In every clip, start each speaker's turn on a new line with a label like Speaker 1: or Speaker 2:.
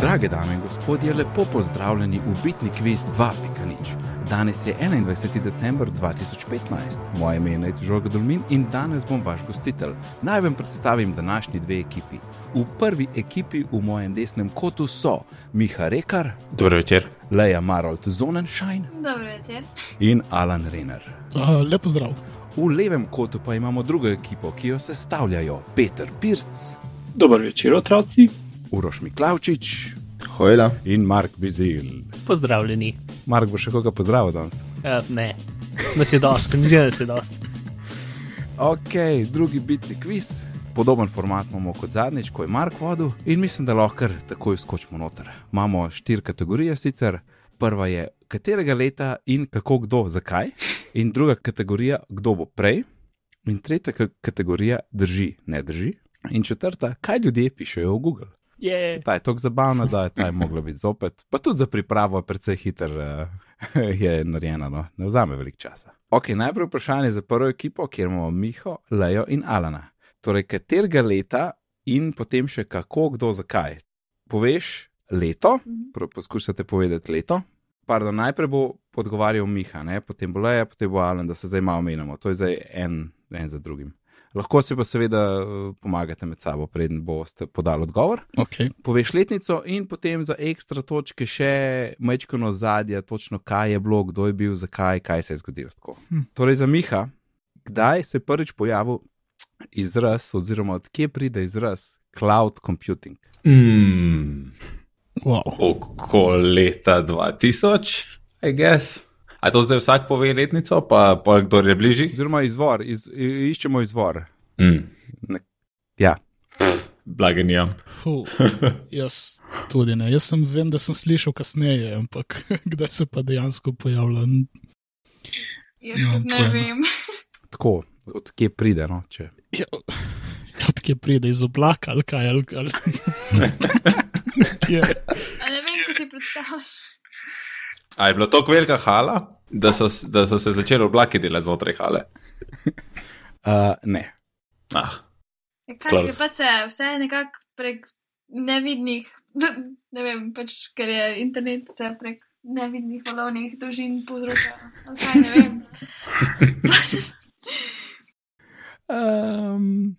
Speaker 1: Drage dame in gospodje, lepo pozdravljeni v Bitni kviz 2.0. Danes je 21. december 2015, moje ime je Žorg Dolmin in danes bom vaš gostitelj. Naj vam predstavim današnji dve ekipi. V prvi ekipi v mojem desnem kotu so Miha Rekar,
Speaker 2: Dobro večer.
Speaker 1: Leja Marold Zonenšajn
Speaker 3: Dobro večer.
Speaker 1: in Alan Renner.
Speaker 4: Uh, Lepo zdrav.
Speaker 1: V levem kotu pa imamo drugo ekipo, ki jo sestavljajo Peter Pirc,
Speaker 5: Dober večer, otroci.
Speaker 1: Uroš Miklačič
Speaker 6: Hojla,
Speaker 1: in Mark Bizil.
Speaker 7: Pozdravljeni.
Speaker 1: Mark bo še koga pozdravil danes.
Speaker 5: Eh,
Speaker 7: Uh, ne, nas je dosti, se mi zdi, da nas je dosti.
Speaker 1: Ok, drugi bitni kviz. Podoben format imamo kot zadnjič, ko je Mark vodil, in mislim, da lahko kar takoj skočimo noter. Imamo štiri kategorije sicer. Prva je, katerega leta in kako kdo, zakaj. In druga kategorija, kdo bo prej. In tretja ka- kategorija, drži, ne drži. In četrta, kaj ljudje pišejo v Google.
Speaker 7: Je,
Speaker 1: Ta je tako zabavna, da je ta je mogla biti zopet. Pa tudi za pripravo je precej hiter, eh, je narejena, no. ne vzame veliko časa. Ok, najprej vprašanje za prvo ekipo, kjer imamo Miho, Lejo in Alana. Torej, katerega leta in potem še kako, kdo, zakaj. Poveš leto, pro- poskušate povedati leto. Pardon, najprej bo odgovarjal Miha, ne? potem bo Leja, potem bo Alan, da se zdaj malo omenjamo. To je zdaj en, en za drugim. Lahko si pa seveda eh, pomagate med sabo, preden boste podali odgovor
Speaker 4: Okay.
Speaker 1: poveš letnico in potem za ekstra točke še mečkano zadje, točno kaj je bilo, kdo je bil, zakaj, kaj se je zgodilo. Tako.
Speaker 4: Hm.
Speaker 1: Torej za Miha, kdaj se je prvič pojavil izraz, oziroma odkje pride izraz cloud computing?
Speaker 2: Mm,
Speaker 4: Wow.
Speaker 2: okoli leta 2000, I guess. A je to zdaj vsak pove letnico, pa pa kdo je bližji?
Speaker 1: Oziroma izvor, iz, i- iščemo izvor.
Speaker 2: Mm,
Speaker 1: Ja,
Speaker 2: Blagenijam.
Speaker 4: Huh. Jaz tudi ne. Jaz sem, vem, da sem slišal kasneje, ampak kdaj se pa dejansko pojavlja? N-
Speaker 3: Jaz
Speaker 4: Ja,
Speaker 3: tudi ne
Speaker 4: pojma.
Speaker 3: vem.
Speaker 1: tako, odkje pride. No, če.
Speaker 4: Ja, ja, Odkje pride iz oblaka ali kaj? Ali, ali... Kje?
Speaker 3: A ne vem, kako si predstavljaš.
Speaker 2: A je bila tako velika hala, da so, s- da so se začeli oblaki delati znotraj hale.
Speaker 1: Uh, ne,
Speaker 2: Ah,
Speaker 3: Ja, Kaj
Speaker 2: Klaus.
Speaker 3: gre pa se, vse je nekako prek nevidnih, ne vem, pač ker je internet se prek nevidnih valovnih dolžin povzroča. Ali Kaj ne vem.
Speaker 1: um,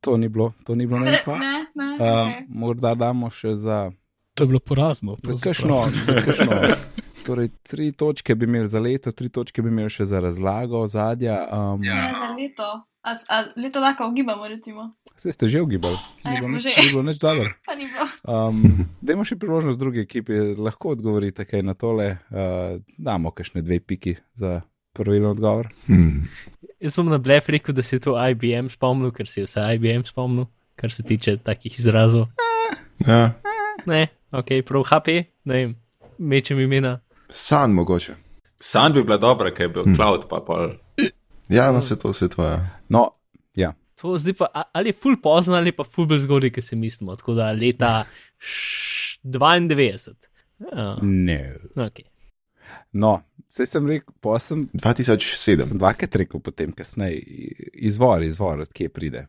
Speaker 1: to ni bilo, to ni bilo nekako.
Speaker 3: Ne, ne.
Speaker 1: Um,
Speaker 3: ne.
Speaker 1: morda damo še za
Speaker 4: To je bilo porazno.
Speaker 1: Za
Speaker 4: pravzaprav.
Speaker 1: kakšno, za kakšno. Torej, tri točke bi imeli za leto, tri točke bi imeli še za razlago, zadnja. Um,
Speaker 3: Ne,
Speaker 1: ja.
Speaker 3: za leto. A, a leto lahko ugibamo, recimo.
Speaker 1: Se ste že ogibali,
Speaker 3: A ja,
Speaker 1: ni bilo
Speaker 3: smo
Speaker 1: nič,
Speaker 3: že.
Speaker 1: ni bilo nič dobro.
Speaker 3: Pa ni bilo.
Speaker 1: Um, Dajmo še priložnost drugi ekipi, lahko odgovorite kaj na tole. Uh, damo kakšne dve piki za pravilen odgovor.
Speaker 7: jaz bom na blef rekel, da se je to IBM spomnil, ker se je vse IBM spomnil, kar se tiče takih izrazov.
Speaker 6: ja.
Speaker 7: Ne, ok, prav HP, ne vem, mečem imena.
Speaker 6: san mogoče.
Speaker 2: San bi bila dobra, ker je bil cloud, pa pol.
Speaker 6: Ja, no se to se tvoja.
Speaker 1: No,
Speaker 7: To zdaj pa a- ali je ful pozno ali pa ful bolj zgodaj, ki se mislimo. Tako da leta š- 92. Uh,
Speaker 1: ne.
Speaker 7: okay.
Speaker 1: No, saj sem rekel, posem
Speaker 6: 2007.
Speaker 1: sem dvakrat rekel, potem kasneje, izvor, izvor, odkje pride.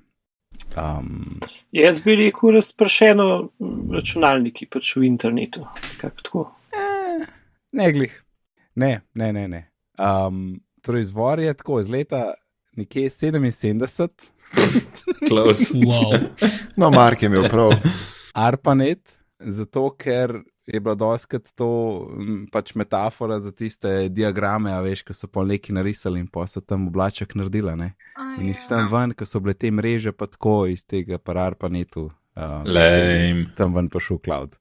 Speaker 1: Um,
Speaker 5: Jaz bi rekel razpršeno m, računalniki, pač v internetu. Kako tako?
Speaker 1: Ne, glih. Ne, ne, ne. ne. Um, torej, izvor je tako iz leta nekje 77,
Speaker 2: Close.
Speaker 4: Wow.
Speaker 6: No, Mark je imel prav.
Speaker 1: arpanet, zato ker je bila doskrat to m, pač metafora za tiste diagrame, a veš, ki so pa neki narisali in pa so tam oblaček naredila. Ne?
Speaker 3: Aj,
Speaker 1: In
Speaker 3: ja.
Speaker 1: nisem ven, ker so bile te mreže pa tako iz tega parapanetu.
Speaker 2: Lame.
Speaker 1: Tam ven pa šel cloud.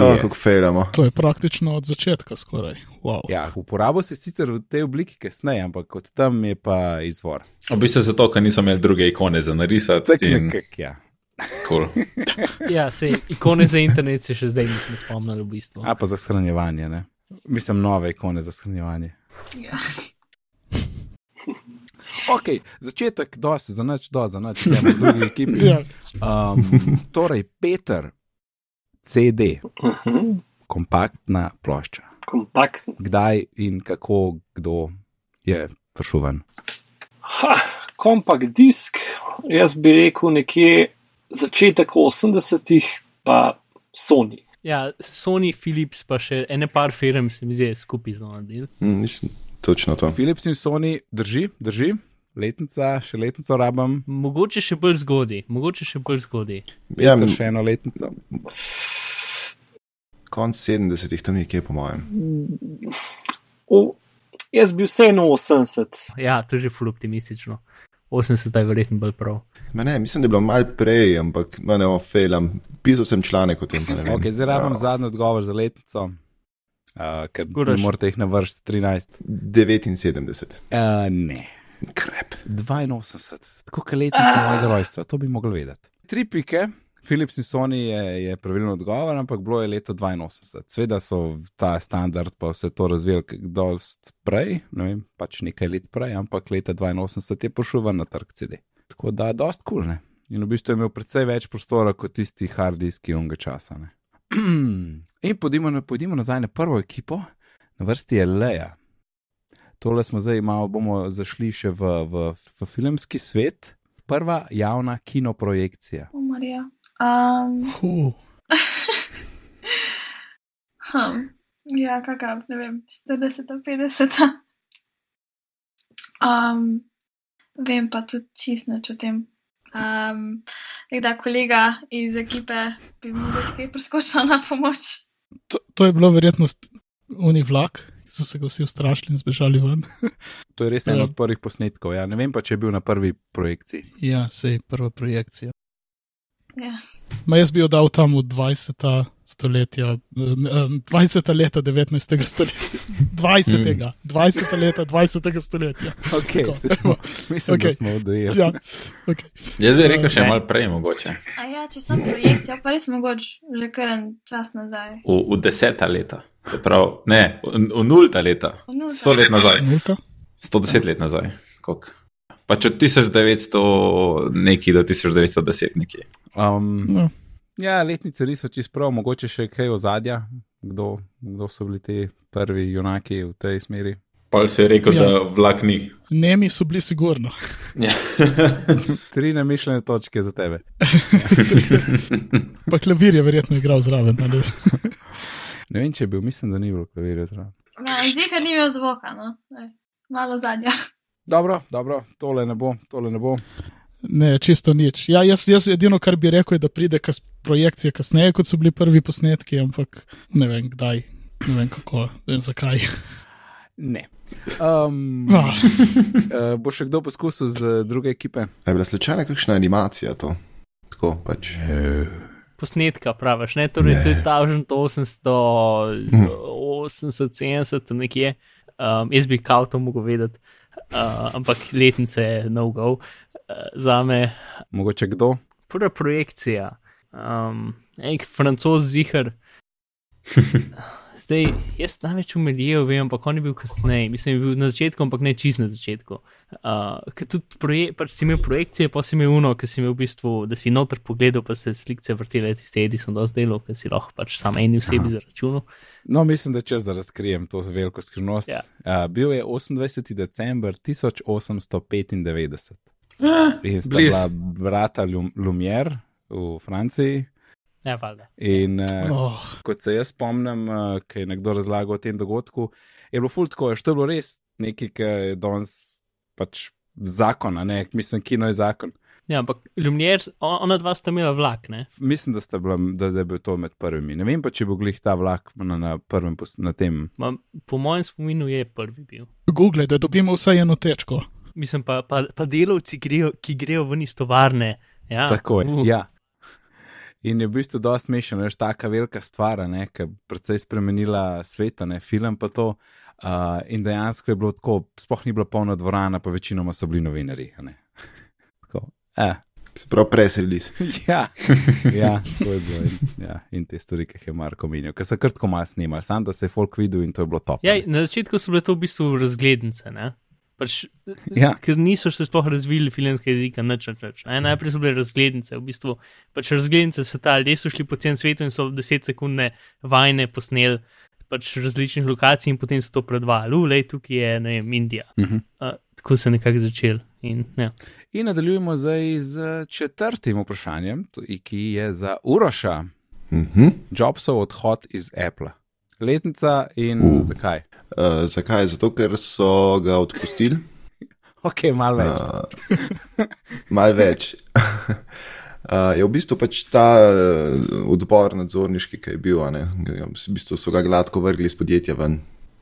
Speaker 6: Oh, kako fejlamo.
Speaker 4: To je praktično od začetka skoraj. Wow.
Speaker 1: Ja, uporabo se sicer v tej obliki kasneje, ampak kot tam je pa izvor.
Speaker 2: V bistvu zato, ker niso imeli druge ikone za narisati.
Speaker 1: Tako
Speaker 2: in-
Speaker 1: nekako, ja.
Speaker 2: Cool.
Speaker 7: Ja, se ikone za internet se še zdaj nismo spomnili v bistvu.
Speaker 1: A pa za shranjevanje, ne? Mislim, nove ikone za shranjevanje.
Speaker 3: Ja.
Speaker 1: Ok, začetek, dosti, za noč, do, za noč, gremo v drugi ekipi.
Speaker 4: Ja.
Speaker 1: Um, torej, Peter, CD,
Speaker 5: Uh -huh.
Speaker 1: kompaktna plošča.
Speaker 5: Kompakt.
Speaker 1: Kdaj in kako, kdo je prišel ven?
Speaker 5: Ha, kompakt disk, jaz bi rekel nekje začetek 80-ih, pa Sony.
Speaker 7: Ja, Sony, Philips pa še ene par firm se mi zdi je skupaj zelo naredil.
Speaker 6: Mm, Mislim, točno to. Ja,
Speaker 1: Philips in Sony drži, drži, letnica, še letnico rabim,
Speaker 7: Mogoče še bolj zgodaj, mogoče še bolj zgodaj.
Speaker 6: Ja,
Speaker 1: Peter, še eno letnico.
Speaker 6: konc 70-ih tam nekje, po mojem.
Speaker 5: O, jaz bi vseeno 80.
Speaker 7: Ja, to je že ful optimistično. 80 je verjetno bolj prav.
Speaker 6: Ma Ne, mislim, da je bilo malo prej, ampak ma ne ofelam. Pisal sem članek o tem. pa ne vem.
Speaker 1: Okay, zdaj rabim
Speaker 6: Ja.
Speaker 1: zadnji odgovor za letnico, uh, ker Guraš.
Speaker 7: Guraš.
Speaker 1: ne morete jih navršiti 13.
Speaker 6: 79.
Speaker 1: Uh, ne,
Speaker 6: Krep.
Speaker 1: 82, tako kot letnica mojega rojstva, to bi mogli vedeti. Tri pike. Philips in Sony je, je pravilen odgovor, ampak bilo je leto 82. Sveda so ta standard pa vse to razvijali dost prej, ne vem, pač nekaj let prej, ampak leta 82 je prišel ven na trg CD. Tako da, dost kul, cool, ne. In v bistvu je imel precej več prostora kot tisti hard diski unga časa, ne. in podimo, na- pojdimo nazaj na prvo ekipo, na vrsti je Leja tole smo zdaj malo, bomo zašli še v, v, v filmski svet. Prva javna kinoprojekcija.
Speaker 3: Umarja. Um,
Speaker 4: Uh,
Speaker 3: hm, ja, kakšna, ne vem, 40, 50. Um, vem pa tudi čist nič o tem. Um, da kolega iz ekipe bi mu kaj preskočil na pomoč.
Speaker 4: to, to je bilo verjetno st- oni vlak, ki so se ga vsi ustrašili in zbežali ven.
Speaker 1: To je res en od prvih posnetkov. Ja. Ne vem pa, če je bil na prvi projekciji.
Speaker 4: Ja, sej prva projekcija.
Speaker 3: Ja.
Speaker 4: Ma jaz bi jo dal tam v 20. stoletja, em, em, 20. leta 19. stoletja, 20. 20. leta 20. stoletja.
Speaker 1: Okay,
Speaker 4: Tako.
Speaker 1: smo, mislim, okay. da
Speaker 4: Okej.
Speaker 1: smo odejeli.
Speaker 4: Ja, okay.
Speaker 2: Jaz bi rekel še
Speaker 7: Ne.
Speaker 2: malo prej, mogoče.
Speaker 3: A ja, če sem projekt, ja, pa res mogoče že kar en čas nazaj.
Speaker 2: V, v deseta leta. Se pravi, ne, v, v nulta leta.
Speaker 3: V nulta.
Speaker 2: Sto let nazaj.
Speaker 4: Nulta?
Speaker 2: 110 let nazaj. Kolik? Pač od 1900 neki do 1910 neki.
Speaker 1: Um,
Speaker 4: No.
Speaker 1: ja, letnice res so čist prav, mogoče še kaj ozadja, kdo, kdo so bili ti prvi junaki v tej smeri.
Speaker 2: Pol se je rekel,
Speaker 4: Ja.
Speaker 2: ja. da vlak ni.
Speaker 4: Nemi so bili sigurno.
Speaker 1: Tri namišljene točke za tebe.
Speaker 4: Pa klavir je verjetno igral zraven. ali-
Speaker 1: Ne vem, če je bil, mislim, da ni bilo klavirja zraven.
Speaker 3: Ja, Zdiha ni imel zvoka, no. Ej, Malo zadnja.
Speaker 1: Dobro, dobro, tole ne bo, tole ne bo.
Speaker 4: Ne, čisto nič. Ja, jaz, jaz edino, kar bi rekel, je, da pride kas, projekcija kasneje, kot so bili prvi posnetki, ampak ne vem kdaj, ne vem kako, ne vem zakaj.
Speaker 1: Ne. Um,
Speaker 4: Ah,
Speaker 1: Uh, bo še kdo poskusil z druge ekipe?
Speaker 6: A je bila slučajna kakšna animacija to? Tako pač.
Speaker 1: Eh,
Speaker 7: Posnetka praviš, ne? Torej,
Speaker 6: Ne.
Speaker 7: to je 1880, 70 nekje. Um, jaz bi kao to mogel vedeti, uh, ampak letnice je no go uh, za me.
Speaker 1: Mogoče kdo?
Speaker 7: Prva projekcija, um, nek francoz zihar. Zdaj, jaz največ umelijev vem, ampak on je bil kasneje. Mislim, da je bil na začetku, ampak ne čist na začetku. Uh, ker tudi proje, pač si imel projekcije, pa si imel uno, ki si imel v bistvu, da si noter pogledal, pa se slike vrtele, tiste Edison dosti delo, ker si lahko pač sam eni osebi zaračunal.
Speaker 1: No, mislim, da čez da razkrijem to veliko skrivnost.
Speaker 7: Ja.
Speaker 1: Uh, bil je 28. december 1895. In sta
Speaker 2: blizu.
Speaker 1: bila brata Lum Lumière v Franciji.
Speaker 7: Ne, valjda.
Speaker 1: In uh,
Speaker 4: oh,
Speaker 1: kot se jaz spomnim, uh, ki je nekdo razlagal o tem dogodku, je bilo ful tako, što je bilo res nekaj, kar je danes pač zakon, a ne, mislim, kino je zakon.
Speaker 7: Ja, ampak Lumier, ona dva sta imela vlak, ne?
Speaker 1: Mislim, da, sta bila, da, da je bil to med prvimi. Ne vem pa, če bo glih ta vlak na, na prvem, pos- na tem.
Speaker 7: Ma, po mojem spominu je prvi bil.
Speaker 4: Google, da dobimo vsaj eno tečko.
Speaker 7: Mislim pa, pa, pa delavci, grejo, ki grejo ven iz tovarne. Ja.
Speaker 1: Tako je.
Speaker 7: Uh.
Speaker 1: Ja. In je v bistvu dosti smešno, veš, taka velika stvar, a ne, ki je precej spremenila svet, a ne film pa to. Uh, in dejansko je bilo tako, sploh ni bila polna dvorana, pa večinoma so bili novinari. a ne. Tako. Eh,
Speaker 6: Se pravi, press release.
Speaker 1: ja, ja, to je bilo. In, ja, in te stvari, ki jih je Marko omenil, ki so krtko mal snimali, sam da se je folk videl in to je bilo top. a
Speaker 7: Ja,
Speaker 1: ne.
Speaker 7: na začetku so bile to v bistvu razglednice, ne? Pač,
Speaker 1: Ja.
Speaker 7: Ker niso še sploh razvili filmskega jezika, nič več. Najprej so bile razglednice, v bistvu pač razglednice sveta, ljudje so šli po celem svetu in so 10-sekundne vajne posneli pač različnih lokacij in potem so to predvajali. Ulej, tukaj je, ne vem, Indija. Uh
Speaker 1: Mhm.
Speaker 7: -huh. uh, tako se je nekako začel. In, ja.
Speaker 1: In nadaljujemo zdaj z četrtim vprašanjem, to- ki je za Uroša.
Speaker 6: Mhm.
Speaker 1: Jobsov odhod iz Apple. Letnica in uh.
Speaker 6: U.
Speaker 1: zakaj?
Speaker 6: Uh, zakaj? Zato, ker so ga odpustili.
Speaker 1: Ok, malo več. Uh.
Speaker 6: Mal več. Uh, je v bistvu pač ta uh, odbor nadzorniški, ki je bil, a ne, v bistvu so ga gladko vrgli iz podjetja ven.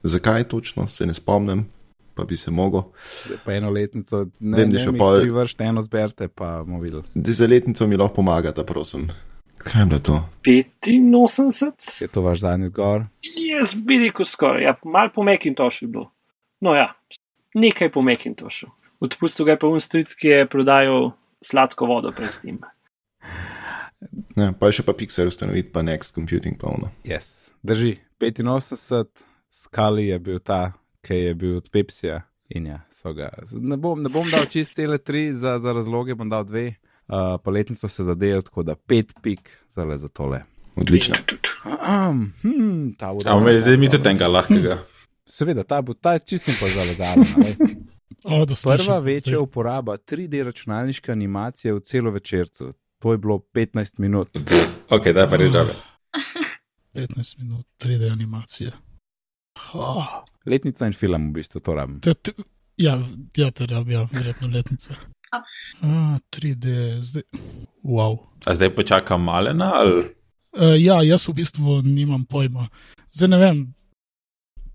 Speaker 6: Zakaj točno, se ne spomnim, pa bi se mogel.
Speaker 1: Pa eno letnico, ne vem,
Speaker 6: Vem, da
Speaker 1: če
Speaker 6: še
Speaker 1: pa
Speaker 6: pol-
Speaker 1: privršte eno zberte, pa bomo videli.
Speaker 6: Zdaj za letnico mi lahko pomagata, prosim. Kaj je bilo to?
Speaker 5: 85?
Speaker 1: Je to vaš zadnji odgovor?
Speaker 5: Jaz bi rekel skoraj, ja, mal po Macintoshu je bilo. No ja, nekaj po Macintoshu. Odpustil ga je pa Unstric, ki je prodajal sladko vodo pred tem.
Speaker 6: Ne, pa je še pa Pixar ustanoviti, pa Next Computing polno.
Speaker 1: Yes. Drži, 85, skali je bil ta, ki je bil od Pepsija. In ja, so ga. Ne bom, ne bom dal čist cele tri, za, za razloge bom dal dve. Uh, poletnico se zadejo, tako da pet pik, zale za tole.
Speaker 6: Odlično.
Speaker 1: Ahem, hmm, ta bo
Speaker 2: A
Speaker 1: dobra,
Speaker 2: me
Speaker 1: ta
Speaker 2: zdaj mi
Speaker 1: bo
Speaker 2: tudi
Speaker 1: dobra.
Speaker 2: enega lahkega.
Speaker 1: Seveda, ta bo ta čistim pa zale za tole.
Speaker 4: O, da slišim.
Speaker 1: Prva večja uporaba 3D računalniške animacije v celovečercu. To je bilo 15 minut.
Speaker 2: Ok, daj pa reč, žabe.
Speaker 4: 15 minut, 3D animacije. Oh,
Speaker 1: Letnica in film, v bistvu to rabim.
Speaker 4: te, te, ja, ja, te rabi, ja, verjetno letnica.
Speaker 3: A.
Speaker 4: A, 3D, zdaj. Wow.
Speaker 2: A zdaj počakam malena ali?
Speaker 4: Uh, ja, jaz v bistvu nimam pojma. Zdaj ne vem,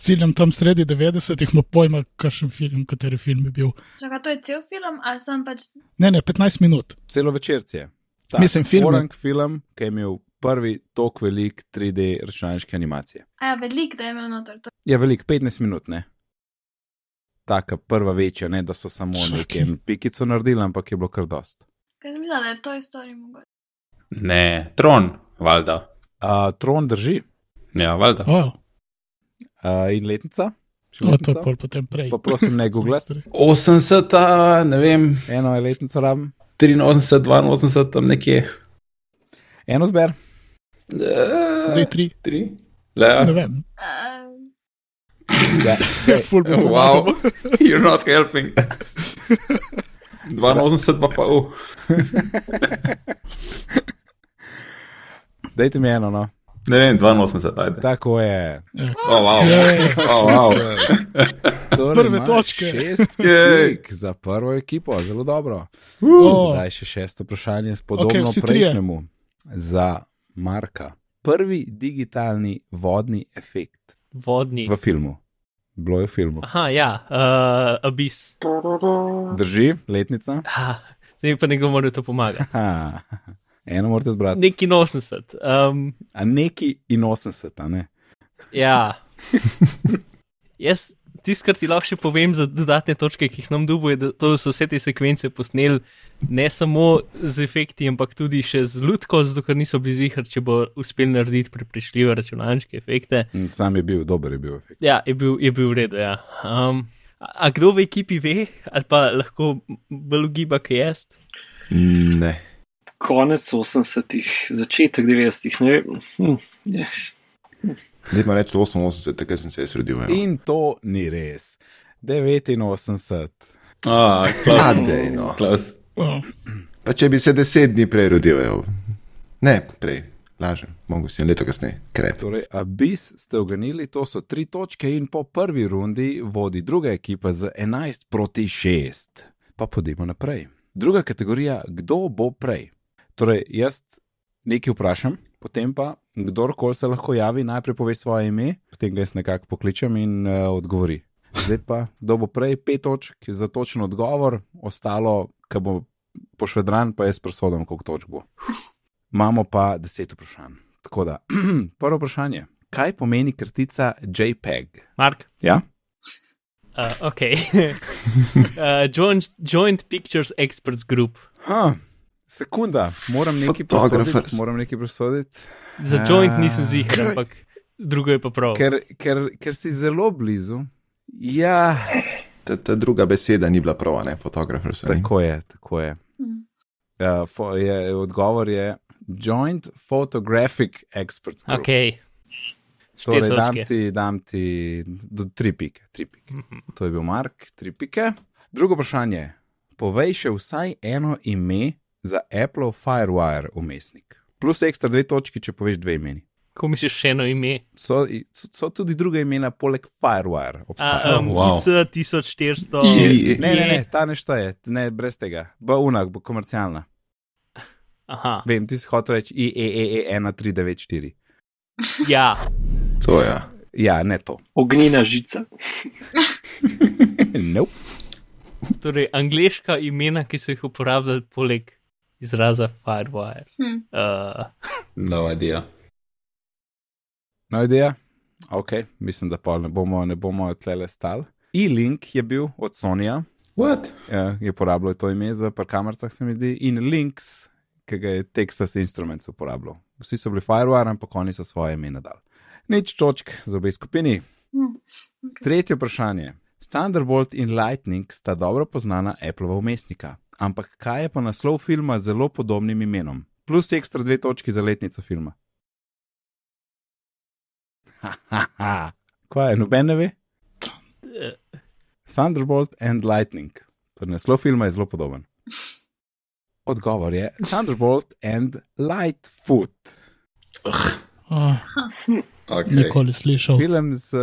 Speaker 4: ciljam tam sredi 90-ih, ima pojma, kakšen film, kateri film je bil.
Speaker 3: Čaka, to je cel film, ali sem pač.
Speaker 4: Ne, ne, 15 minut.
Speaker 1: Celovečerci je. Ta
Speaker 4: Mislim, film je-
Speaker 1: Orang film, ki je imel prvi tok velik 3D računalniške animacije.
Speaker 3: A ja, velik, da je imel noter. To.
Speaker 1: Je velik, 15 minut, ne? Taka prva večja, ne da so samo
Speaker 4: Čakaj.
Speaker 1: nekem pikico naredili, ampak je bilo kar dost.
Speaker 3: Kaj sem mislila, da je to istorija mogoče.
Speaker 2: Ne, tron, valjda.
Speaker 1: Uh, tron drži
Speaker 2: Ja, valjda.
Speaker 4: Oh,
Speaker 1: uh, in letnica. Še
Speaker 4: o, to
Speaker 1: letnica?
Speaker 4: je pol potem prej.
Speaker 1: Pa prosim, ne googlati.
Speaker 4: Semestre.
Speaker 2: 80, ne vem,
Speaker 1: Eno je letnico rabim,
Speaker 2: 83, 82, tam nekje.
Speaker 1: eno zber.
Speaker 4: Dej tri,
Speaker 2: Tri.
Speaker 4: ne
Speaker 2: Le,
Speaker 4: vem.
Speaker 3: Uh,
Speaker 1: Ja, daj.
Speaker 4: Ful bi
Speaker 2: wow,
Speaker 4: pomagal.
Speaker 2: you're not helping. 82 pa pol.
Speaker 1: Dajte mi eno, no.
Speaker 2: Ne vem, 82, ajde.
Speaker 1: Tako je.
Speaker 2: Oh, wow.
Speaker 4: Ja, ja, ja.
Speaker 2: Oh, wow.
Speaker 1: Torej
Speaker 4: Prve
Speaker 1: imaš
Speaker 4: točke.
Speaker 1: Šest
Speaker 2: Jej.
Speaker 1: pik za prvo ekipo, zelo dobro.
Speaker 4: O,
Speaker 1: Zdaj še šesto vprašanje, podobno
Speaker 4: Ok,
Speaker 1: okay,
Speaker 4: vsi trije.
Speaker 1: prejšnjemu, za Marka. Prvi digitalni vodni efekt
Speaker 7: Vodni.
Speaker 1: v filmu. Bilo je v filmu.
Speaker 7: Aha, ja, uh, abis.
Speaker 1: Drži, letnica.
Speaker 7: Ah, zdaj mi pa nekdo mora to pomagati.
Speaker 1: Ha, eno morate zbrati.
Speaker 7: Neki 80. Um,
Speaker 1: A neki in 80, a ne?
Speaker 7: ja. Jaz tisto, kar ti lahko še povem za dodatne točke, ki jih nam dubo, je, da, to, da so vse te sekvence posneli ne samo z efekti, ampak tudi še z lutko, zato ker niso bili zihar, če bo uspel narediti prepričljive računalniške efekte.
Speaker 1: Mm, Sam je bil, dober je bil efekt.
Speaker 7: Ja, je bil, je bil v redu. Ja. Um, a, a kdo v ekipi ve, ali pa lahko bolj ugiba, kaj jaz?
Speaker 6: Mm, Ne.
Speaker 5: Konec 80-ih, začetek 90-ih, ne vem. Hm, yes.
Speaker 6: Zdaj ima reči 88, takrat sem se jaz rodil. evo.
Speaker 1: In to ni res. 89.
Speaker 2: Ah,
Speaker 6: A,
Speaker 2: klas.
Speaker 6: dej, no.
Speaker 2: klas.
Speaker 4: o,
Speaker 6: Pa če bi se deset dni prej rodil, evo. ne, prej, lažem, mogo si en leto kasneje, krep.
Speaker 1: Torej, abis ste oganili, to so tri točke in po prvi rundi vodi druga ekipa z 11 proti 6. Pa pojdimo naprej. Druga kategorija, kdo bo prej. Torej, jaz nekaj vprašam, potem pa kdorkoli se lahko javi, najprej pove svoje ime, potem ga jaz nekako pokličem in uh, odgovori. Zdaj pa, kdo bo prej, pet točk za točen odgovor, ostalo, ki bo pošvedran, pa jaz presodim, koliko točk bo. Imamo pa deset vprašanj. Tako da, prvo vprašanje. Kaj pomeni kratica JPEG?
Speaker 7: Mark.
Speaker 1: Ja?
Speaker 7: Uh, ok. uh, joint, joint Pictures Experts Group.
Speaker 1: Ha, sekunda, moram nekaj presoditi.
Speaker 6: Photographers.
Speaker 1: Moram nekaj presoditi
Speaker 7: Za joint
Speaker 1: Ah.
Speaker 7: nisem zihar, ampak drugo je pa prav.
Speaker 1: ker, ker, ker si zelo blizu. Ja,
Speaker 6: Ta, ta druga beseda ni bila prava, ne, fotografer sem.
Speaker 1: tako je, tako je.
Speaker 3: hm.
Speaker 1: Ja, fo, je odgovor je Joint Photographic Experts. Group.
Speaker 7: Ok. Štiri
Speaker 1: Torej, dam
Speaker 7: točke. Mhm.
Speaker 1: ti, dam ti do tri pike, tri pike. To je bil Mark, tri pike. Drugo vprašanje. Povej še vsaj eno ime za Apple Firewire umestnik. Plus ekstra dve točki, če poveš dve imeni.
Speaker 7: Ko misliš še eno ime?
Speaker 1: So, i- so, so tudi druga imena, poleg Firewire.
Speaker 7: A,
Speaker 1: obstajajo.
Speaker 7: um,
Speaker 2: wow.
Speaker 7: wow. IC 1400.
Speaker 6: I-
Speaker 1: Ne, ne, ne,
Speaker 7: je.
Speaker 1: ta ne šteje, ne brez tega. Bo unak, bo komercialna.
Speaker 7: Aha,
Speaker 1: Vem, ti si hotel reči E IEEE1394.
Speaker 7: ja,
Speaker 6: To je. Ja.
Speaker 1: Ja, ne to.
Speaker 5: Ognjena žica.
Speaker 1: nope.
Speaker 7: torej angliška imena, ki so jih uporabljali poleg izraza firewire.
Speaker 3: Hm.
Speaker 7: Uh,
Speaker 2: No idea.
Speaker 1: No, ideja. Ok, mislim, da pol ne bomo, ne bomo tlele stal. E-link je bil od Sonja,
Speaker 2: What?
Speaker 1: eh, je uporabljal to ime za par kamercah, se mi zdi, in Links, ki ga je Texas Instruments uporabljal. Vsi so bili Firewire, ampak oni so svoje imena dali. Nič točk za obe skupini.
Speaker 3: Hm.
Speaker 1: Tretje vprašanje. Thunderbolt in Lightning sta dobro poznana Appleova umestnika, ampak kaj je pa naslov filma z zelo podobnim imenom? Plus ekstra dve točki za letnico filma. Hahaha. Kaj je, noben ne ve? Thunderbolt and Lightning. Torej, naslov filma je zelo podoben. Odgovor je Thunderbolt and Lightfoot.
Speaker 4: Oh,
Speaker 2: Okay.
Speaker 4: nikoli slišal.
Speaker 1: Film s, eh,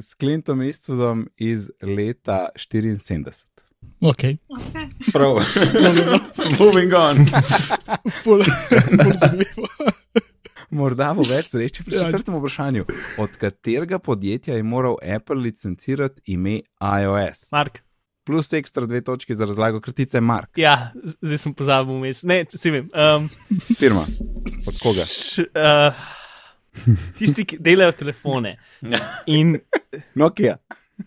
Speaker 1: s Clintom Eastwoodom iz leta 74.
Speaker 3: Okay.
Speaker 4: Okay.
Speaker 2: Prav. Moving on.
Speaker 4: Bolj, bolj zanimivo.
Speaker 1: Morda bo več sreče pri
Speaker 4: Ja.
Speaker 1: četrtem vprašanju. Od katerega podjetja je moral Apple licencirati ime iOS?
Speaker 7: Mark,
Speaker 1: Plus ekstra dve točki za razlago kratice Mark.
Speaker 7: ja, z- zdaj sem pozabil vmes. Ne, vsi vem. Um,
Speaker 1: Firma. Od koga?
Speaker 7: š, uh, tisti, ki delajo telefone. In
Speaker 1: Nokia.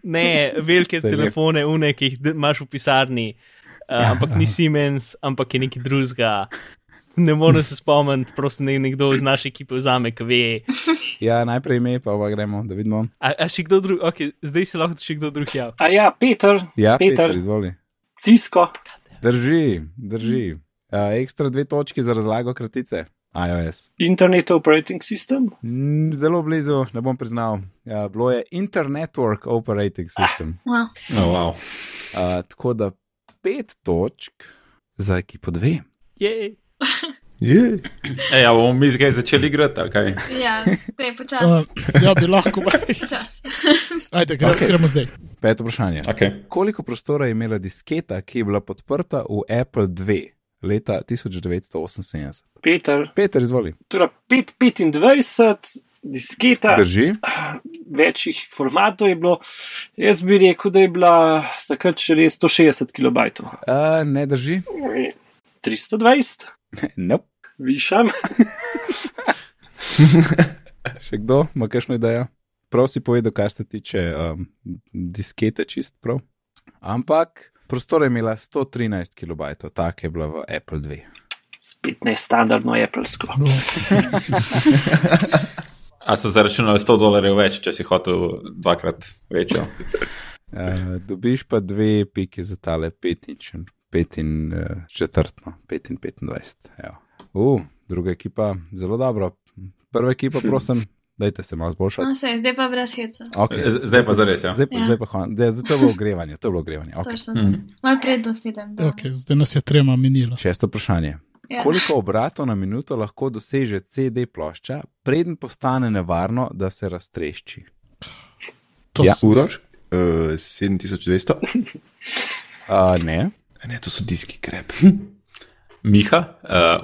Speaker 7: ne velike
Speaker 1: Saj vem.
Speaker 7: telefone, une, ki jih d- imaš v pisarni, uh, ampak ni Siemens, ampak je neki drugega. Ne morem se spomniti, prosim, ne, nekdo iz naše ekipe vzame, ki ve.
Speaker 1: Ja, najprej ime, pa pa gremo, da vidimo.
Speaker 7: A, a še kdo drug, okay, zdaj se lahko še kdo drug javi.
Speaker 5: A ja, Peter,
Speaker 1: Ja, Peter,
Speaker 5: Peter.
Speaker 1: Peter izvoli.
Speaker 5: Cisko,
Speaker 1: Drži, drži. Uh, ekstra dve točki za razlago kratice iOS.
Speaker 5: Internet Operating System,
Speaker 1: Mm, Zelo blizu, ne bom priznal. Ja, bilo je Internetwork Operating System.
Speaker 3: Wow.
Speaker 2: Oh, wow.
Speaker 1: Uh, tako da pet točk za ekipo dve.
Speaker 7: Jej.
Speaker 6: Je.
Speaker 2: Ej, a bomo mi zdaj začeli igrati, ali kaj?
Speaker 3: Ja, te počasi.
Speaker 4: Uh, ja, bi lahko.
Speaker 3: počasi.
Speaker 4: Ajde, gremo,
Speaker 1: Okej.
Speaker 4: okay. gremo zdaj.
Speaker 1: Peto vprašanje.
Speaker 2: Okay.
Speaker 1: Koliko prostora je imela disketa, ki je bila podprta v Apple II leta 1978?
Speaker 5: Peter,
Speaker 1: Peter, izvoli.
Speaker 5: torej 525, disketa,
Speaker 1: Drži.
Speaker 5: večjih formatov je bilo. Jaz bi rekel, da je bila takrat še res 160 kB.
Speaker 1: Uh, ne drži.
Speaker 5: Torej, 320,
Speaker 1: Nope.
Speaker 5: višam.
Speaker 1: Še kdo ima kakšno idejo? Prav si povedal, kar se tiče um, diskete, čist prav. Ampak prostora je imela 113 kB, tako je bila v Apple II.
Speaker 5: Spet ne standardno Applesko.
Speaker 4: No,
Speaker 2: A so zaračunali 100 dolarjev več, če si hotel dvakrat večjo.
Speaker 1: Uh, dobiš pa dve piki za tale petinčen, pet in uh, četrtno, pet in petindvajset. Uh, druga ekipa, zelo dobro. Prva ekipa, prosim, dajte se malo zboljšati.
Speaker 3: No, sej, zdaj pa brez heca.
Speaker 1: Okay.
Speaker 2: Z- Ah. Zdaj pa zares, ja.
Speaker 1: Zdaj, pa-
Speaker 3: Ja.
Speaker 1: zdaj pa hvala. Zdaj je bilo ogrevanje, to je bilo ogrevanje. Okay.
Speaker 3: Točno.
Speaker 2: Mhm.
Speaker 3: Malo prednosti dam. da.
Speaker 4: okay, zdaj nas je trema minilo.
Speaker 1: Šesto vprašanje.
Speaker 3: Ja.
Speaker 1: Koliko obratov na minuto lahko doseže CD plošča, preden postane nevarno, da se raztrešči?
Speaker 4: To
Speaker 1: Ja.
Speaker 4: ja.
Speaker 6: Uroš? Uh, 7200.
Speaker 1: Uh, ne,
Speaker 6: A Ne, to so diski krep.
Speaker 2: Miha,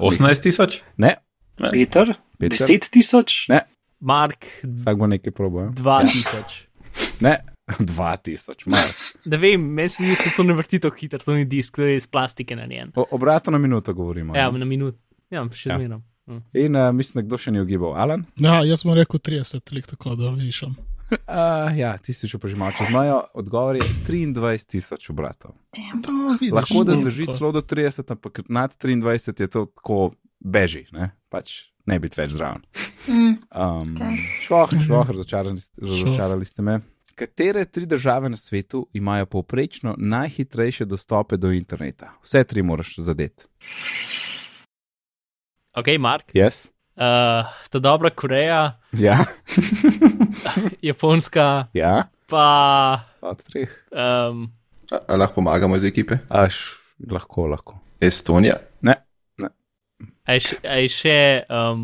Speaker 2: uh, 18 tisoč?
Speaker 1: ne,
Speaker 5: Peter,
Speaker 1: Peter?
Speaker 5: 10 tisoč,
Speaker 1: Ne.
Speaker 7: Mark
Speaker 1: vsak bo nekaj probo.
Speaker 7: 2000.
Speaker 1: Ne, dva tisoč, malo.
Speaker 7: Da vem, meni se zdi, da se to ne vrti tako hitro, to ni disk, to je iz plastike narejen.
Speaker 1: Obratno na minuto govorimo.
Speaker 7: Ja,
Speaker 1: ne?
Speaker 7: na minut. Ja,
Speaker 1: Ja.
Speaker 7: še zmeram. Mm.
Speaker 1: In uh, mislim, da kdo še ni ogibal. Alan?
Speaker 4: Ja, jaz sem rekel 30, lik tako da višam.
Speaker 1: Uh, ja, ti si že požimal čez mojo. Odgovor je 23 tisoč obratov.
Speaker 6: No, vidiš.
Speaker 1: Lahko da
Speaker 4: Mm,
Speaker 1: zdrži
Speaker 4: tako.
Speaker 1: celo do 30, ampak nad 23 je to tako beži, ne, pač ne biti več zraven.
Speaker 3: Mm.
Speaker 1: Um,
Speaker 3: Kaj?
Speaker 1: šloh, šloh, razočarali, ste- razočarali ste me. Katere tri države na svetu imajo povprečno najhitrejše dostope do interneta? Vse tri moraš zadeti.
Speaker 7: Ok, Mark.
Speaker 1: Jaz?
Speaker 7: Uh, ta dobra Koreja,
Speaker 1: Yes? Ja,
Speaker 7: Japonska,
Speaker 1: ja,
Speaker 7: pa.
Speaker 1: od treh.
Speaker 7: Um,
Speaker 6: A, a lahko pomagamo iz ekipe?
Speaker 1: Aš, lahko, lahko.
Speaker 6: Estonija.
Speaker 1: Ne, ne.
Speaker 7: A je še, a je še um,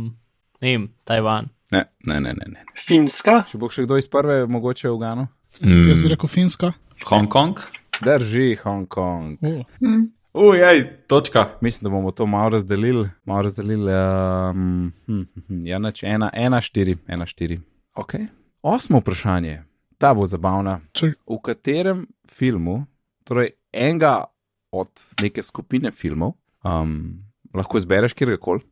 Speaker 7: ne vem, Tajvan.
Speaker 1: Ne, ne, ne, ne. ne.
Speaker 5: Finska,
Speaker 1: Če bo še kdo iz prve, mogoče v Ganu?
Speaker 4: Jaz bi
Speaker 2: Mm,
Speaker 4: rekel Finska.
Speaker 2: Hongkong?
Speaker 1: Drži Hongkong.
Speaker 4: O,
Speaker 3: Hm.
Speaker 2: Ujej, točka.
Speaker 1: Mislim, da bomo to malo razdelili. Malo razdelili um, hm, hm, hm, ja, nač, ena, ena, štiri, ena, štiri. Okay. Osmo vprašanje, ta bo zabavna.
Speaker 4: Če-
Speaker 1: V katerem filmu, torej enega od neke skupine filmov, um, lahko izbereš kjerkoli,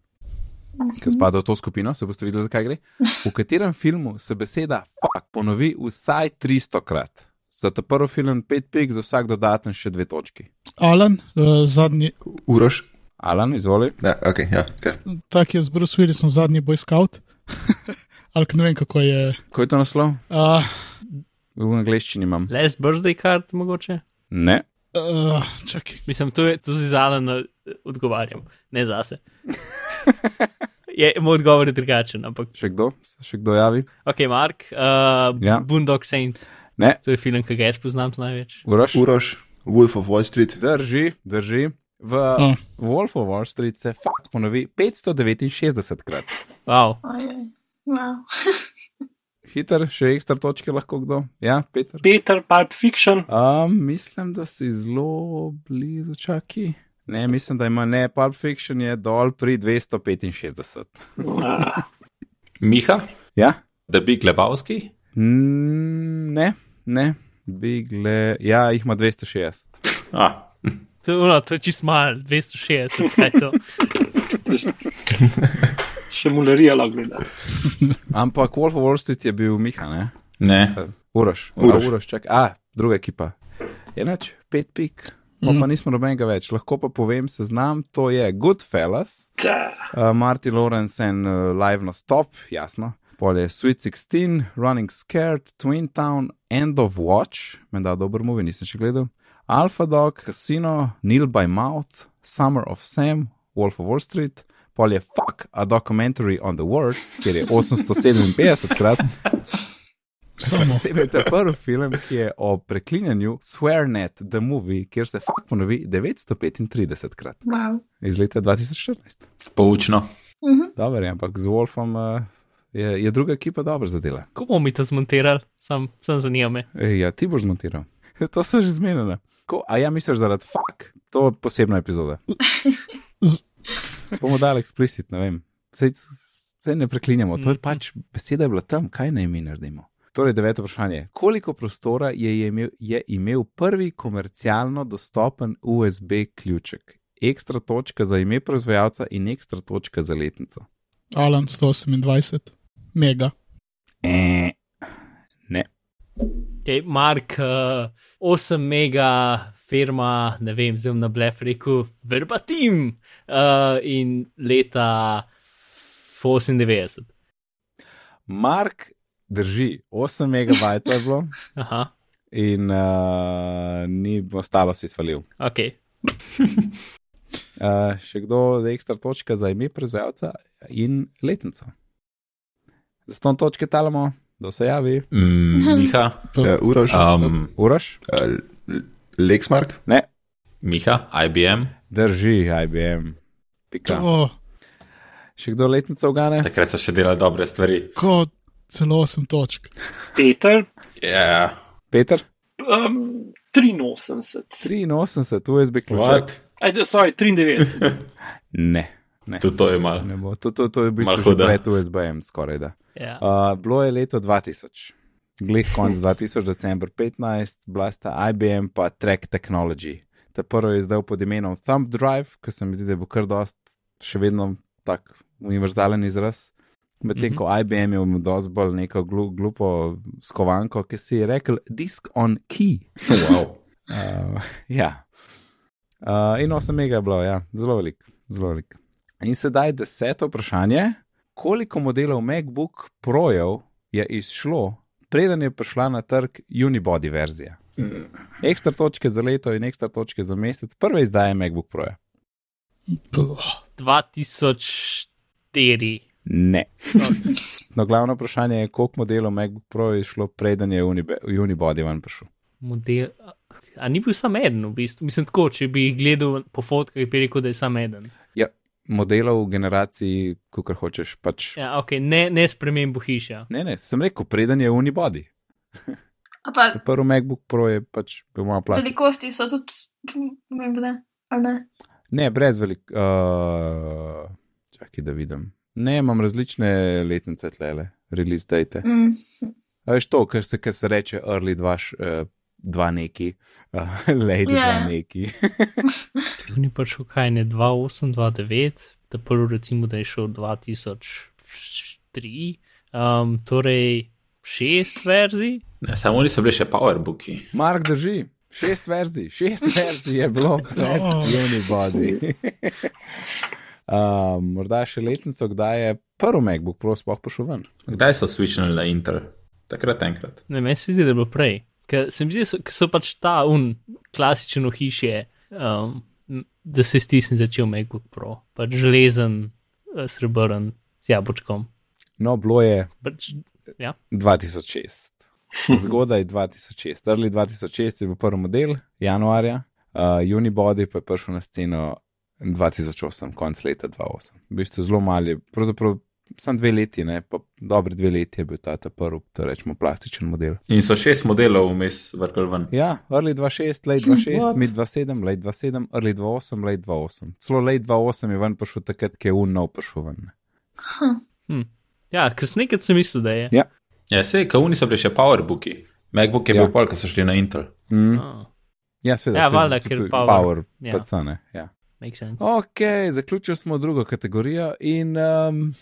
Speaker 1: ki spada v to skupino, se boste videli, zakaj gre. V katerem filmu se beseda fuck ponovi vsaj 300 krat. Za ta prvi film 5 pik, za vsak dodaten še dve točki.
Speaker 4: Alan, uh, zadnji,
Speaker 6: Uroš?
Speaker 1: Alan, izvoli.
Speaker 6: Ne, ok, ja, kar.
Speaker 4: tak je z Bruce Willisom zadnji boy scout. Ali ne vem, kako je.
Speaker 1: Kaj je to naslov?
Speaker 4: Uh,
Speaker 1: V angleščini imam.
Speaker 7: Last birthday card mogoče?
Speaker 1: Ne.
Speaker 4: uh, čakaj.
Speaker 7: Mislim, tu je tudi zalen, eh, odgovarjam, ne zase. Je, moj odgovor je drugačen, ampak.
Speaker 1: Še kdo? Se še kdo javi?
Speaker 7: Ok, Mark, uh,
Speaker 1: Ja.
Speaker 7: ja. Boondog Saints,
Speaker 1: Ne.
Speaker 7: to je film, ki ga jaz poznam največ.
Speaker 1: Uroš?
Speaker 6: Uroš, Wolf of Wall Street.
Speaker 1: Drži, drži. V
Speaker 4: Mm.
Speaker 1: Wolf of Wall Street se fakt ponovi 569 krat.
Speaker 7: Wow.
Speaker 3: Ojoj. Wow.
Speaker 1: Hiter, še ekstra točke lahko kdo. Ja, Peter.
Speaker 5: Peter, Pulp Fiction,
Speaker 1: Um, mislim, da si zelo blizu čaki. Ne, mislim, da ima ne. Pulp Fiction je dol pri 265.
Speaker 5: uh,
Speaker 2: Miha?
Speaker 1: Ja?
Speaker 2: The Big Lebowski?
Speaker 1: Mm, ne, ne. Bigle, ja, jih ima 260.
Speaker 2: Ah,
Speaker 7: To, je ono, to je čist mal, 260, kaj je to.
Speaker 5: še mularija lahko gleda.
Speaker 1: Ampak Wolf of Wall Street je bil Miha, ne?
Speaker 2: ne.
Speaker 1: Uroš,
Speaker 6: Uroš.
Speaker 1: Uroš, Uroč čakaj. A, druga ekipa. Enač, pet pik. Pa, pa nismo nobenega več, lahko pa povem seznam, to je Goodfellas,
Speaker 5: Ta,
Speaker 1: uh, Marty Lawrence and uh, Live na Stop, jasno. Pol je Sweet 16, Running Scared, Twin Town, End of Watch, menda dober movi, nisem še gledal, Alpha Dog, Casino, Neil by Mouth, Summer of Sam, Wolf of Wall Street, pol je Fuck, a documentary on the world, kjer je 857 krat,
Speaker 4: Samo.
Speaker 1: Tebe je ta prvi film, ki je o preklinjanju Swearnet, The Movie, kjer se fakt ponovi 935 krat
Speaker 3: wow.
Speaker 1: iz leta 2014.
Speaker 2: Poučno.
Speaker 3: Mhm.
Speaker 1: Dober je, ampak z Wolfom uh, je, je druga ekipa dobro zadela.
Speaker 7: Kako bomo mi to zmontirali, sam, sam zanima me.
Speaker 1: Ej, ja, ti boš zmontiral. to so že zmenjene. Ko, a ja, misliš zaradi fuk, to je posebna epizoda.
Speaker 4: Z-
Speaker 1: Bomo dali eksplicit, ne vem. Sej, sej ne preklinjamo, to je pač beseda je bila tam, kaj naj mi naredimo. Torej, deveto vprašanje. Koliko prostora je imel, je imel prvi komercialno dostopen USB ključek? Ekstra točka za ime proizvajalca in ekstra točka za letnico.
Speaker 4: Alan 128, mega.
Speaker 1: E,
Speaker 7: Okay, Mark, uh, 8 mega firma, ne vem, zdaj bom na blef rekel, verbatim uh, in leta 98.
Speaker 1: Mark drži 8 megabajtov je bilo.
Speaker 7: Aha,
Speaker 1: in uh, ni ostalo si svalil.
Speaker 7: ok.
Speaker 1: Uh, še kdo da ekstra točka za ime proizvajalca in letnico. Zato točke talamo, da se javi.
Speaker 2: Mm, Miha?
Speaker 6: Ja, Uroš, um.
Speaker 2: Um,
Speaker 1: Uraš,
Speaker 6: Lexmark,
Speaker 1: ne,
Speaker 2: Miha? IBM?
Speaker 1: drži IBM. Pika.
Speaker 4: O,
Speaker 1: Še kdo letnico ugane?
Speaker 2: Takrat so še delali dobre stvari.
Speaker 4: ko celo 8 točk.
Speaker 5: Peter,
Speaker 2: Ja,
Speaker 1: Peter,
Speaker 5: um, 83,
Speaker 1: 83, USB ključek.
Speaker 2: What?
Speaker 5: Ajde, sorry, 93,
Speaker 1: Ne,
Speaker 2: tudi to je malo.
Speaker 1: ne bo. To, to, to je v bistvu
Speaker 2: Malo
Speaker 1: že
Speaker 2: huda.
Speaker 1: pred USB-em skoraj da.
Speaker 7: Ja.
Speaker 1: Uh, bilo je leto 2000, glej konc 2000, december 15, bila sta IBM pa Track Technology. Ta prvi je zdaj pod imenom Thumb Drive, ki se mi zdi, da bo kar dost še vedno tak univerzalen izraz. Medtem ko IBM je imel dosti bolj neko glu, glupo skovanko, ki si je rekel disk on key.
Speaker 2: Wow.
Speaker 1: Uh, ja. Uh, in 8 mega je bilo, ja, zelo velik, zelo velik. In sedaj deseto vprašanje. Koliko modelov MacBook Projev je izšlo, preden je prišla na trg Unibody verzija? Ekstra točke za leto in ekstra točke za mesec, prve izdaje MacBook Proja.
Speaker 4: Puh.
Speaker 7: 2004.
Speaker 1: Ne. No, glavno vprašanje je, koliko modelov MacBook Proja je izšlo, preden je Unibe- Unibody ven prišel.
Speaker 7: Model. A ni bil samo eden, v bistvu. Mislim, tako, če bi jih gledal po fotkah, bi rekel, da je samo eden.
Speaker 1: Ja, modelov, generacij, kako hočeš. Pač. Ja.
Speaker 7: Ja, okay, ne, ne spremembo hiša.
Speaker 1: Ne, ne, sem rekel, preden je unibody.
Speaker 3: A pa
Speaker 1: Prvi MacBook Pro je pač bil malo plat.
Speaker 3: velikosti so tudi pomembne, ali ne?
Speaker 1: Ne, brez velik. Uh, čakaj, da vidim. Ne, imam različne letnice tlele, release date.
Speaker 3: Mm.
Speaker 1: A veš to, kar se, kar se reče early dvaš, uh, dva neki, uh, lady yeah.
Speaker 3: Ja.
Speaker 1: dva neki.
Speaker 7: Ni pač kaj ne 2.8, 2.9, ta prvi recimo, da je šel 2003, um, torej šest verzij.
Speaker 2: Ne, samo niso bili še powerbooki.
Speaker 1: Mark drži, šest verzij, šest verzij je bilo pred
Speaker 4: No.
Speaker 1: Unibody. Uh, morda še letnico, kdaj je prvi MacBook Pro sploh prišel ven.
Speaker 2: Kdaj so switchnili na Intel? Takrat enkrat.
Speaker 7: Ne, meni se zdi, da je bilo prej. Ker se mi zdi, da so, ker so pač ta un klasičen ohišje, um, m, da se stisne začel MacBook Pro, pač železen, eh, srebrn, z jabočkom.
Speaker 1: No, bilo je
Speaker 7: Pač,
Speaker 1: 2006. Zgodaj 2006, early 2006 je bil prvi model, januarja, uh, Unibody pa je prišel na sceno 2008, konc leta 2008. V bistvu zelo mali, pravzaprav samo dve leti, ne, pa dobre dve leti je bil ta, ta prvi, to rečemo, plastičen model.
Speaker 2: In so šest modelov vmes vrgli ven.
Speaker 1: Ja, early 26, late 26,
Speaker 2: What?
Speaker 1: mid 27, late 27, early 28, late 28. Celo late 28 je ven prišel takrat, ki je unno prišel ven.
Speaker 3: Hm.
Speaker 7: ja, ker sem nekaj sem mislil, da je.
Speaker 1: Ja.
Speaker 2: Ja, sej, kauni so bili še powerbooki. MacBook je
Speaker 1: Ja.
Speaker 2: ja. bil pol, ko so šli na Intel.
Speaker 1: Mm.
Speaker 7: Ah,
Speaker 1: Ja, seveda.
Speaker 7: Ja,
Speaker 1: saj
Speaker 7: valjda,
Speaker 1: zato
Speaker 7: ker
Speaker 1: tudi
Speaker 7: power.
Speaker 1: power
Speaker 7: Ja.
Speaker 1: ja. PC, ne. Ja.
Speaker 7: makes sense.
Speaker 1: Ok, zaključili smo drugo kategorijo in um,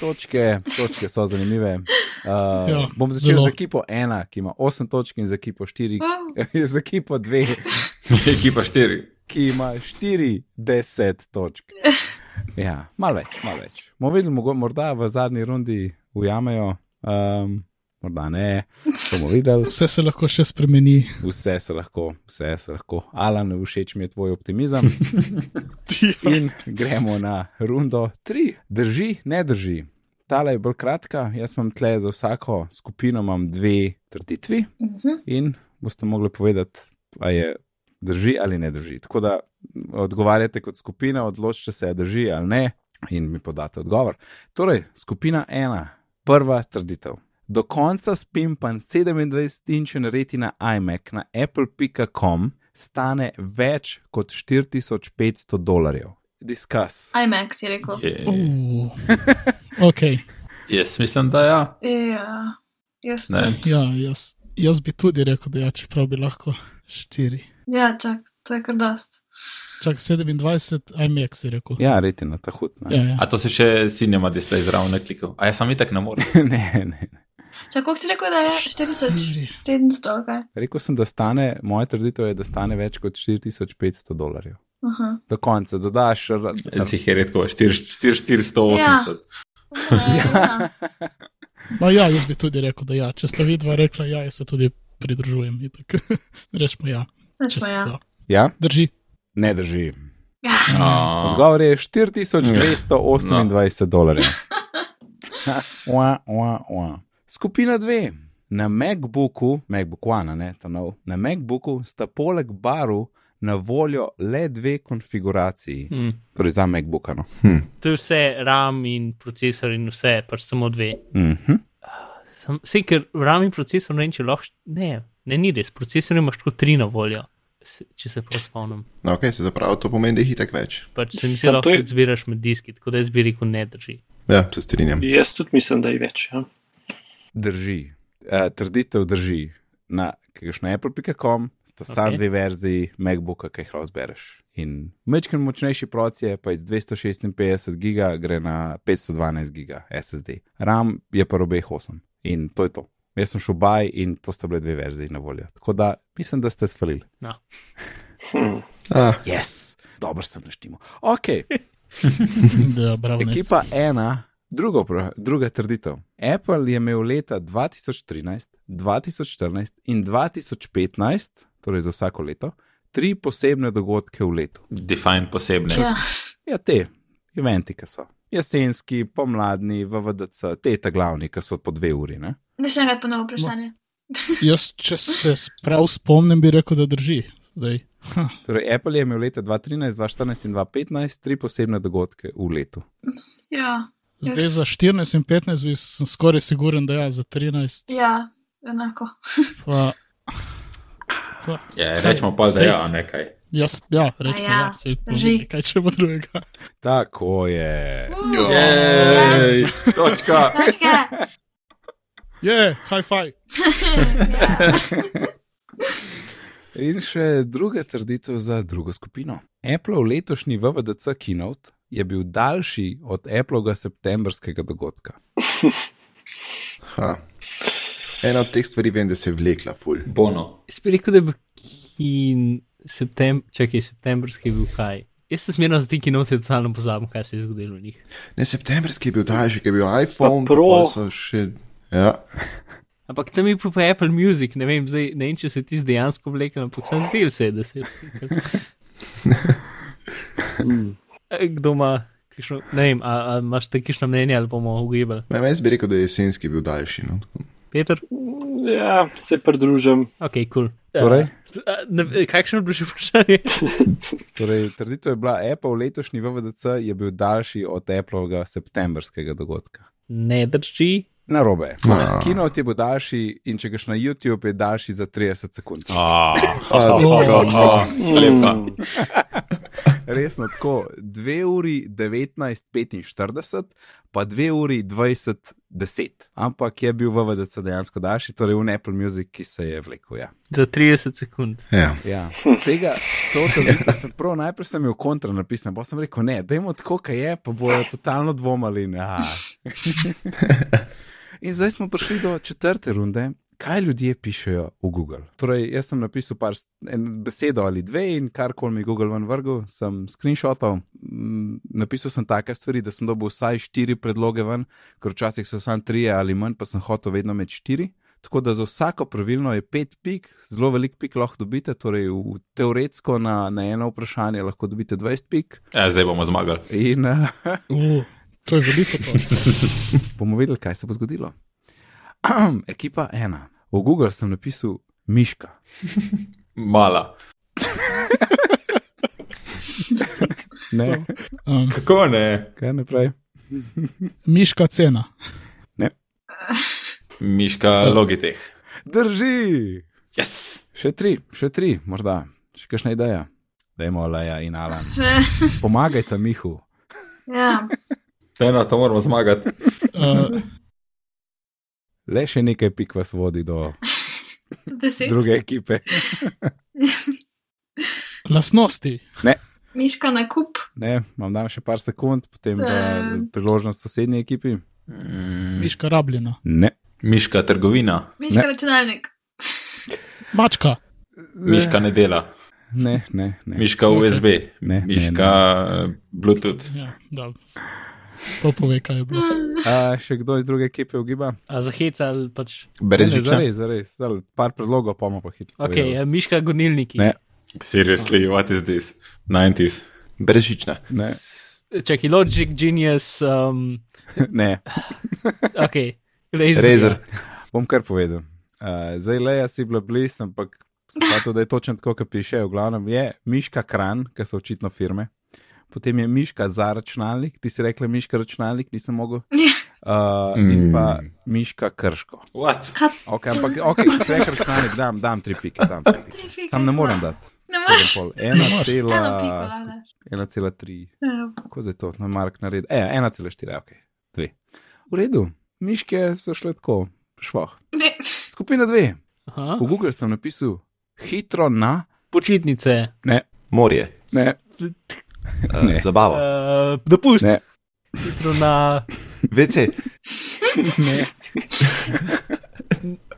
Speaker 1: točke, točke so zanimive. Uh,
Speaker 4: Ja,
Speaker 1: ja, bom začel
Speaker 4: zelo.
Speaker 1: z ekipo ena, ki ima 8 točk in z ekipo 4,
Speaker 3: Uh,
Speaker 1: z ekipo 2,
Speaker 2: Ekipa štiri.
Speaker 1: ki ima 40 točk. Ja, malo več, malo več. Bomo videli, mogo- morda v zadnji rundi ujamejo, um, morda ne, bomo videli.
Speaker 4: Vse se lahko še spremeni.
Speaker 1: Vse se lahko, vse se lahko. Alan, všeč mi je tvoj optimizem. In gremo na rundo 3. Drži, ne drži. Tale je bolj kratka, jaz imam tle za vsako skupino imam dve trditvi
Speaker 3: mhm.
Speaker 1: in boste mogli povedati, a je drži ali ne drži. Tako da odgovarjate kot skupina, odločite se, a drži ali ne, in mi podate odgovor. Torej, skupina ena, prva trditev. Do konca spimpan 27-inčen retina iMac na apple.com stane več kot 4500 dolarjev. Discuss.
Speaker 3: IMAX je rekel.
Speaker 2: Je,
Speaker 4: Uh. Ok,
Speaker 2: jaz mislim, da ja.
Speaker 3: Ja, jaz.
Speaker 2: Ne.
Speaker 4: ja, jaz, jaz bi tudi rekel, da ja, čeprav bi lahko štiri.
Speaker 3: Ja, čak, to je kar dost.
Speaker 4: Čak 27, IMX si rekel.
Speaker 1: Ja, retina, ta hud.
Speaker 4: ja,
Speaker 1: Ne,
Speaker 4: ja.
Speaker 2: A to si še cinema display zraven naklikal. A jaz sem itak ne morem.
Speaker 1: ne, ne. ne.
Speaker 3: Čak, koliko si rekel, da je 4700, ali kaj?
Speaker 1: Rekl sem, da stane, moja trditev je, da stane več kot 4500 dolarjev.
Speaker 3: Aha.
Speaker 1: Do konca dodaš. ra-
Speaker 2: Jaz jih je redko, 4480.
Speaker 3: Ja.
Speaker 2: Ja.
Speaker 3: Ja.
Speaker 4: Ma ja, jaz bi tudi rekel, da ja. Če sta vidva rekla ja, jaz se tudi pridružujem. itak. Rečemo ja. če
Speaker 3: Rečemo
Speaker 4: ste
Speaker 3: ja.
Speaker 4: za.
Speaker 1: Ja,
Speaker 4: Drži.
Speaker 1: ne drži.
Speaker 3: Ja.
Speaker 2: A,
Speaker 1: Odgovor je 4228 no. dolarjev. Ua, ua, ua. Skupina dve. Na MacBooku, MacBook One, a ne, ta nov, na MacBooku sta poleg baru na voljo le dve konfiguraciji,
Speaker 7: Hm.
Speaker 1: torej za MacBooka. No.
Speaker 7: To je vse, RAM in procesor in vse, pač samo dve.
Speaker 1: Uh -huh.
Speaker 5: Mhm.
Speaker 7: Sam, sej, ker RAM in procesor ne vem, če lahko. št- Ne, ne, ni res, procesor imaš kot tri na voljo, se- če se prav spomnim.
Speaker 6: No, ok, se pravi, to pomeni, da jih je tako več.
Speaker 7: Pač se mi zdi,
Speaker 5: Samo
Speaker 7: da lahko
Speaker 5: to je-
Speaker 7: tudi zbiraš med diski, tako da jaz bi rekel, ne drži.
Speaker 6: Ja, se strinjam.
Speaker 5: Jaz tudi mislim, da je več. Ja.
Speaker 1: Drži, uh, trditev drži. Na kakšne Apple.com sta okay. sam
Speaker 7: Ok.
Speaker 1: dve verziji MacBooka, ki jih lahko zbereš. In mečken močnejši proces pa iz 256 giga gre na 512 giga SSD. RAM je pa obeh 8 in to je to. Jaz sem šel baj in to sta bile dve verziji na voljo. Tako da mislim, da ste sfalili.
Speaker 5: Hm.
Speaker 6: Ah,
Speaker 1: Yes, dobro sem naštimo. Ok,
Speaker 4: Da, bravo. Nec.
Speaker 1: Ekipa ena, drugo, vpra- druga trditev. Apple je imel leta 2013, 2014 in 2015, torej za vsako leto, tri posebne dogodke v letu.
Speaker 2: define posebne.
Speaker 3: ja.
Speaker 1: Ja, te, eventi, ki so. Jesenski, pomladni, VVDC, te ta glavni, ki so po dve uri. Ne?
Speaker 3: Ne še enkrat ponovno vprašanje.
Speaker 4: Jaz, če se s- prav spomnim, bi rekel, da drži. zdaj.
Speaker 1: Torej, Apple je imel leta 2013, 2014 in 2015 tri posebne dogodke v letu.
Speaker 3: Ja,
Speaker 4: Zdaj za 14 in 15 bi sem skoraj siguren, da ja, za 13
Speaker 3: ja, enako.
Speaker 4: pa. pa
Speaker 2: Ja,
Speaker 4: Kaj?
Speaker 2: rečemo pa zdaj,
Speaker 4: Zdaj-
Speaker 2: ja, nekaj.
Speaker 4: jaz, ja, rečemo,
Speaker 3: Aja,
Speaker 4: ja, saj to
Speaker 3: drži.
Speaker 4: ni kaj če bo drugega.
Speaker 1: Tako je.
Speaker 2: Jej, Točka.
Speaker 3: Točka.
Speaker 4: Je, yeah, high five.
Speaker 3: Ja.
Speaker 1: In še druga trditev za drugo skupino. Appleov letošnji VVDC keynote je bil daljši od Appleovega septembrskega dogodka.
Speaker 6: Ha. Ena od teh stvari vem, da se je vlekla, ful.
Speaker 2: Bono.
Speaker 7: Jaz bi rekel, da je bil kin... septem... Čakaj, septembrski je bil kaj. Jaz sem zmerno za te kinote totalno pozabil, kaj se je zgodilo v njih.
Speaker 6: Ne, septembrski je bil daljši, ki je bil iPhone,
Speaker 5: Pa Pro.
Speaker 6: pa so še. Ja.
Speaker 7: Ampak tam je bil pa Apple Music, ne vem, zdaj, ne vem če se ti zdaj dejansko vlekel, ampak sem zdel se, je, da se je vlekel.
Speaker 1: Hmm.
Speaker 7: Eh, Kdo ima, kakšno, ne vem, a, a imaš takišno mnenje ali bomo ugibali?
Speaker 6: Ma, Jaz bi rekel, da je jesenski bil daljši. No. tako.
Speaker 7: Peter?
Speaker 5: Ja, se pridružim.
Speaker 7: Ok, kul. Cool.
Speaker 1: Torej?
Speaker 7: Uh, ne, eh, kakšno je bilo še vprašanje?
Speaker 1: Torej, trditev je bila, Apple letošnji VVDC je bil daljši od Appleovega septembrskega dogodka.
Speaker 7: ne drži.
Speaker 1: Na robe.
Speaker 6: Ja.
Speaker 1: Keynote je bil daljši in če greš na YouTube, je daljši za 30 sekund.
Speaker 2: Ah,
Speaker 6: Ah, come on.
Speaker 2: lepa.
Speaker 5: Hmm.
Speaker 1: Resno tako, 2 uri 19:45, pa 2 uri 20:10. Ampak je bil VVDC dejansko daljši, torej v Apple Music, ki se je vlekel. Ja.
Speaker 7: Za 30 sekund.
Speaker 6: Ja.
Speaker 1: Ja, tega, to trditev sem prav najprej sem imel kontra napisan, pa sem rekel, ne, dajmo tako, kaj je, pa bojo totalno dvomali. in, "Ah." In zdaj smo prišli do četrte runde. Kaj ljudje pišejo v Google? Torej, jaz sem napisal par s- en besedo ali dve in karkoli mi Google ven vrgel, sem screenshotal. Mm, Napisal sem take stvari, da sem dobil vsaj štiri predloge ven, ker včasih so samo tri ali manj, pa sem hotel vedno imeti štiri. Tako da za vsako pravilno je pet pik, zelo velik pik lahko dobite, torej v, teoretsko na, na eno vprašanje lahko dobite 20 pik.
Speaker 2: Ja, zdaj bomo zmagali.
Speaker 1: In uh,
Speaker 4: Uh, to je veliko točk.
Speaker 1: bomo videli, kaj se bo zgodilo. Ahem, Ekipa ena. V Google sem napisal miška.
Speaker 2: Mala.
Speaker 1: Ne,
Speaker 4: Um,
Speaker 2: Kako ne?
Speaker 1: kaj naprej.
Speaker 4: miška cena.
Speaker 2: Miška Logitech.
Speaker 1: Drži!
Speaker 2: Yes!
Speaker 1: Še tri, še tri, morda, še kakšna ideja. Dajmo, Leja in Alan. Pomagajte, Mihu.
Speaker 3: ja.
Speaker 2: Eno, to moramo zmagati.
Speaker 4: Uh,
Speaker 1: Le še nekaj pik vas vodi do
Speaker 3: Deset.
Speaker 1: druge ekipe.
Speaker 4: lasnosti.
Speaker 3: Miška na kup.
Speaker 1: Ne, vam dam še par sekund, potem da
Speaker 3: Ehm.
Speaker 1: priložnost sosednji ekipi.
Speaker 2: Mm,
Speaker 4: Miška rabljena.
Speaker 1: Ne.
Speaker 2: miška trgovina.
Speaker 3: Miška
Speaker 1: Ne.
Speaker 3: ne. računalnik.
Speaker 4: Mačka.
Speaker 2: Miška ne dela.
Speaker 1: Ne, ne, ne.
Speaker 2: Miška USB.
Speaker 1: Ne, ne,
Speaker 2: Miška eh, Bluetooth.
Speaker 4: Ja, dobro. to pove, kaj je bilo.
Speaker 1: A, še kdo iz druge ekipe ugiba?
Speaker 7: A za hec ali pač.
Speaker 1: Ne,
Speaker 6: Brez
Speaker 1: ne,
Speaker 6: žiča.
Speaker 1: zares, zares. Zdaj, par predlogov, pa bomo pa hitro.
Speaker 7: Ok,
Speaker 1: povedali.
Speaker 7: ja, miška gonilniki.
Speaker 1: Ne.
Speaker 2: Seriously, what is this? 90s.
Speaker 6: Brez žiča.
Speaker 1: ne,
Speaker 7: Čakaj, Logic, Genius, um,
Speaker 1: ne,
Speaker 7: ok, Razer.
Speaker 6: Rezer.
Speaker 1: bom kar povedal. Uh, zdaj le jaz si bila blizu, ampak zato, da je točno tako, kot piše, v glavnem je Miška Kran, ki so očitno firme. Potem je Miška za računalnik, ti si rekla Miška računalnik, nisem mogel.
Speaker 3: Ja.
Speaker 1: Uh, in pa Miška Krško.
Speaker 2: What?
Speaker 1: Ok, ampak ok, če si rekla računalnik, dam, dam tri pike, dam tri pike.
Speaker 3: Tri fike.
Speaker 1: Sam ne morem dati.
Speaker 3: Ne moreš.
Speaker 1: Ena
Speaker 3: Eno Ja.
Speaker 1: cela,
Speaker 3: piko, no. lada.
Speaker 1: ena cela tri, kot je to, na Mark naredi. E, ena cela štiri, ok, dve. V redu, miške so šle tako, švoh.
Speaker 3: Ne.
Speaker 1: Skupina dve.
Speaker 7: Aha.
Speaker 1: V Google sem napisal hitro na,
Speaker 7: Počitnice,
Speaker 6: Morje.
Speaker 1: ne,
Speaker 6: Uh,
Speaker 1: Ne.
Speaker 6: Zabava.
Speaker 7: uh, dopust.
Speaker 1: Oh. Ne.
Speaker 7: Hitro na
Speaker 6: VC.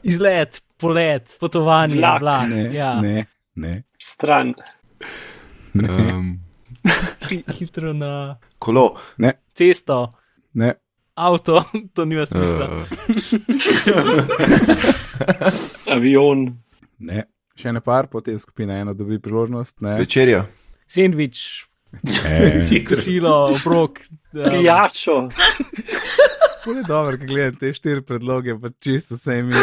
Speaker 7: izlet, polet, potovanje,
Speaker 5: Vlak.
Speaker 7: vlak. vlak
Speaker 1: ne,
Speaker 7: ja.
Speaker 1: ne, ne,
Speaker 5: Stran.
Speaker 6: Um,
Speaker 7: Hi- Hitro na
Speaker 6: kolo.
Speaker 7: cesto,
Speaker 1: ne,
Speaker 7: avto, to nima smisla. Uh.
Speaker 6: Uh,
Speaker 5: Avion.
Speaker 1: ne. Še ne par, potem skupina ena dobi priložnost, ne,
Speaker 6: večerja.
Speaker 7: Sandvič,
Speaker 1: ne.
Speaker 7: kosilo, obrok. Um,
Speaker 5: Ja. Pijačo.
Speaker 1: Pole dobro, ko gledam te štiri predloge, pa čisto se mi.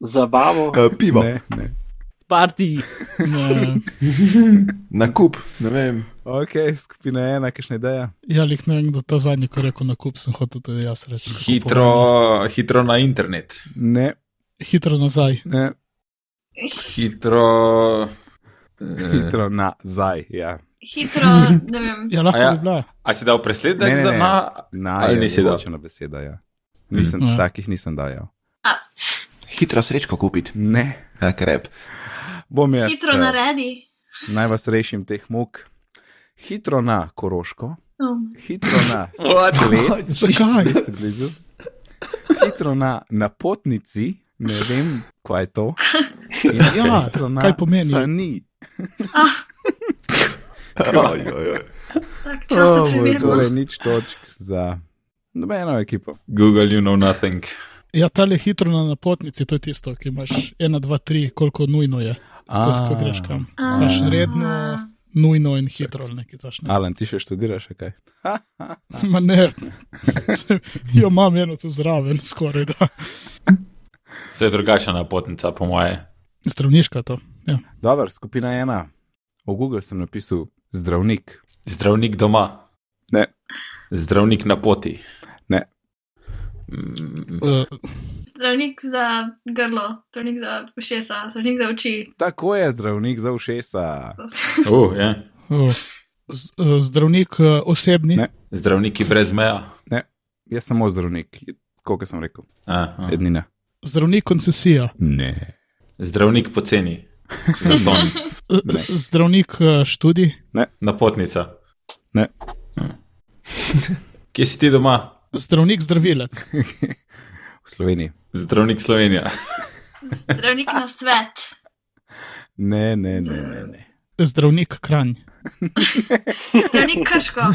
Speaker 5: zabavo.
Speaker 6: Uh, pivo, ne.
Speaker 1: Ne, ne.
Speaker 7: Parti,
Speaker 4: Ne,
Speaker 6: nakup, ne vem.
Speaker 1: Ok, skupina ena, kakšna ideja.
Speaker 4: ja, lih ne vem, kdo ta zadnji, ko je rekel na kup, sem hotel tudi jaz reči. kako pomembno.
Speaker 2: Hitro, hitro na internet,
Speaker 1: Ne,
Speaker 4: Hitro nazaj.
Speaker 1: ne,
Speaker 2: hitro. eh,
Speaker 1: hitro nazaj. Ja.
Speaker 3: Hitro, ne vem.
Speaker 4: Ja, lahko
Speaker 2: A ja.
Speaker 4: ja. bi bila.
Speaker 2: A si dal presledek
Speaker 1: Ne, ne,
Speaker 2: za
Speaker 1: ne.
Speaker 2: na?
Speaker 1: Na,
Speaker 2: Ali
Speaker 1: je
Speaker 2: nisi dal?
Speaker 1: določena beseda, ja. Nisem,
Speaker 4: Mm. Ja.
Speaker 1: Takih nisem dajal.
Speaker 6: Hitro srečko kupiti,
Speaker 1: Ne,
Speaker 6: ja, krep.
Speaker 1: bom jaz.
Speaker 3: Hitro
Speaker 1: eh,
Speaker 3: naredi.
Speaker 1: Naj vas rešim teh muk. Hitro na Koroško,
Speaker 3: Oh.
Speaker 1: hitro na Svet,
Speaker 4: Zakaj?
Speaker 1: niste blizu. hitro na napotnici, ne vem, kaj je to. In
Speaker 4: Ja,
Speaker 1: hitro na
Speaker 4: kaj pomeni?
Speaker 1: Sani.
Speaker 6: Oj, oj, oj.
Speaker 3: Tak čas oh, primerno.
Speaker 1: Torej, nič točk za nobeno ekipo.
Speaker 2: Google, you know nothing.
Speaker 4: Ja, ta le hitro na napotnici, to je tisto, ki imaš 1, 2, 3, koliko nujno je, ko, ko greš kam.
Speaker 3: A.
Speaker 4: Imaš redno, nujno in hitro ali nekaj tašnega.
Speaker 1: Alan, ti še študiraš, še kaj?
Speaker 4: Ma ne, jo imam eno tu zraven, skoraj da.
Speaker 2: To je drugačna napotnica, po moje.
Speaker 4: Zdravniška to. Ja.
Speaker 1: Dobro, skupina ena. V Google sem napisal zdravnik.
Speaker 2: Zdravnik doma.
Speaker 1: Ne.
Speaker 2: Zdravnik na poti.
Speaker 1: Ne.
Speaker 2: Mm,
Speaker 4: Uh,
Speaker 3: Zdravnik za grlo, zdravnik za ušesa, zdravnik za oči.
Speaker 1: Tako je zdravnik za ušesa.
Speaker 2: Uh, yeah.
Speaker 4: uh, z, uh, zdravnik uh, osebni,
Speaker 1: Ne.
Speaker 4: ne.
Speaker 2: Zdravniki brez meja.
Speaker 1: Jaz samo zdravnik, kot sem rekel,
Speaker 2: A, a.
Speaker 1: ednina.
Speaker 4: zdravnik koncesija,
Speaker 1: Ne.
Speaker 2: Zdravnik poceni. Zaston.
Speaker 4: uh,
Speaker 1: Ne.
Speaker 4: zdravnik uh, študij,
Speaker 2: Napotnica.
Speaker 1: Ne.
Speaker 2: Hm. Kje si ti doma?
Speaker 4: zdravnik zdravilec,
Speaker 1: V Sloveniji.
Speaker 2: Zdravnik Slovenija.
Speaker 3: Zdravnik na svet.
Speaker 1: Ne, ne, ne, ne. ne.
Speaker 4: zdravnik kranj,
Speaker 3: Zdravnik krško.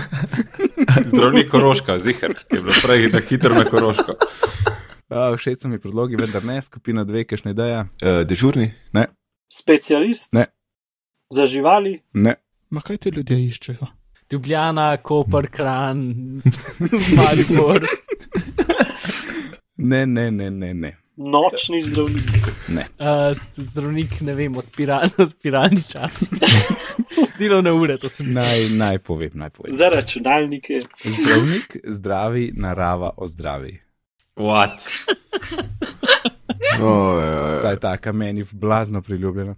Speaker 2: Zdravnik Koroška, zihar, ki je bilo prej na hitro na Koroško.
Speaker 1: A, všeč so mi predlogi, vendar ne, skupina dve, kajšne ideje.
Speaker 6: Uh, dežurni,
Speaker 5: Specialist?
Speaker 1: Ne.
Speaker 5: Za živali?
Speaker 1: Ne,
Speaker 4: ma kaj ti ljudje iščejo?
Speaker 7: Ljubljana, Koper, Kran, Maribor.
Speaker 1: ne, ne, ne, ne. ne.
Speaker 5: Nočni zdravnik.
Speaker 7: Uh, zdravnik, ne vem, od pirana, od pirani čas. Delovne ure, to sem mislil.
Speaker 1: Naj, naj povem, naj povem.
Speaker 5: Za računalnike.
Speaker 1: Zdravnik, zdravi, narava o zdravi.
Speaker 2: What?
Speaker 6: oj, oj,
Speaker 1: Ta je taka meni blazno priljubljena.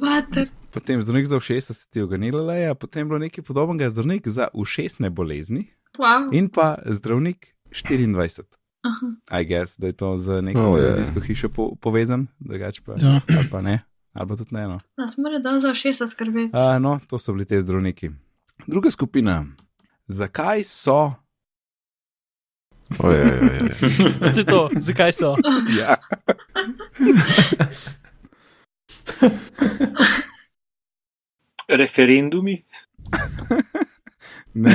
Speaker 3: Mater.
Speaker 1: Potem zdravnik za ušesa se ti je oganila leja, potem je bilo nekaj podobnega zdravnik za ušesne bolezni
Speaker 3: Wow.
Speaker 1: in pa zdravnik 24.
Speaker 3: Aha.
Speaker 1: I guess, da je to z neko
Speaker 6: Oh,
Speaker 1: oh,
Speaker 6: je.
Speaker 1: televizijsko hišo po, povezan, drugače pa,
Speaker 4: Ja.
Speaker 1: ali pa ne, ali pa tudi ne. No.
Speaker 3: Nas mora dan za ušesa skrbeti.
Speaker 1: Uh, no, to so bili te zdravniki. Druga skupina. Zakaj so?
Speaker 6: oj, oj, oj, oj.
Speaker 7: To je to, zakaj so?
Speaker 1: Ja.
Speaker 5: Referendumi?
Speaker 1: Ne,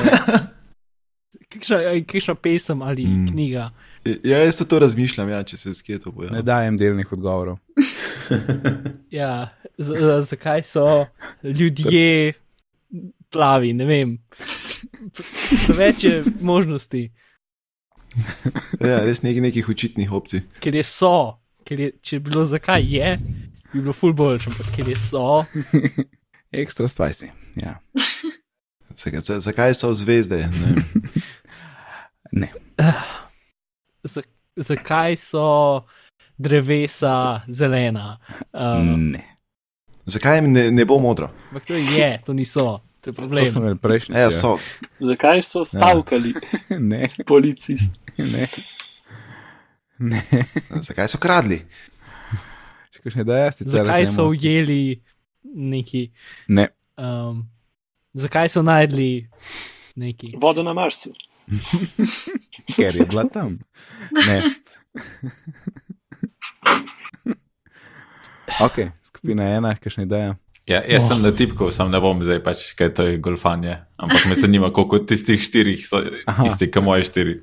Speaker 7: Kakšna, aj, kakšna pesem ali
Speaker 6: Mm.
Speaker 7: mm. knjiga?
Speaker 6: Ja, jaz se to razmišljam, ja, če se skje to boje.
Speaker 1: ne dajem delnih odgovorov.
Speaker 7: Ja, z, z, zakaj so ljudje plavi, ne vem. Pre- Preveč je možnosti,
Speaker 6: Ja, res nekaj nekih očitnih opcij.
Speaker 7: ker je so, ker je, če bi bilo zakaj je, bi bilo ful boljše, ampak ker je so,
Speaker 1: Ekstra spicy. Ja.
Speaker 6: Zakaj- za- Zakaj so zvezde? Ne vem.
Speaker 7: zakaj so drevesa zelena. Um,
Speaker 1: Ne.
Speaker 6: Zakaj jim ne, ne bo modro?
Speaker 7: ampak to je, to niso, to je
Speaker 1: To smo
Speaker 7: problem.
Speaker 1: imeli prejšnji.
Speaker 6: Ja, so.
Speaker 5: Zakaj
Speaker 1: Ja.
Speaker 5: so stavkali
Speaker 1: Ne,
Speaker 5: policisti?
Speaker 1: ne. Ne.
Speaker 6: Zakaj so kradli?
Speaker 1: Še kakšne ideje sicer?
Speaker 7: Zakaj
Speaker 1: gremo.
Speaker 7: so ujeli neki,
Speaker 1: Ne,
Speaker 7: um, zakaj so najdli neki.
Speaker 5: Vodo na Marsu.
Speaker 1: ker je bila tam. Ne. ok, skupina ena, kakšne ideje.
Speaker 2: Ja, jaz
Speaker 7: Oh.
Speaker 2: sem na tipku, sam ne bom zdaj pač, kaj to je golfanje. Ampak me zanima, koliko od tistih štirih so
Speaker 1: Aha.
Speaker 2: isti, kot moje štiri.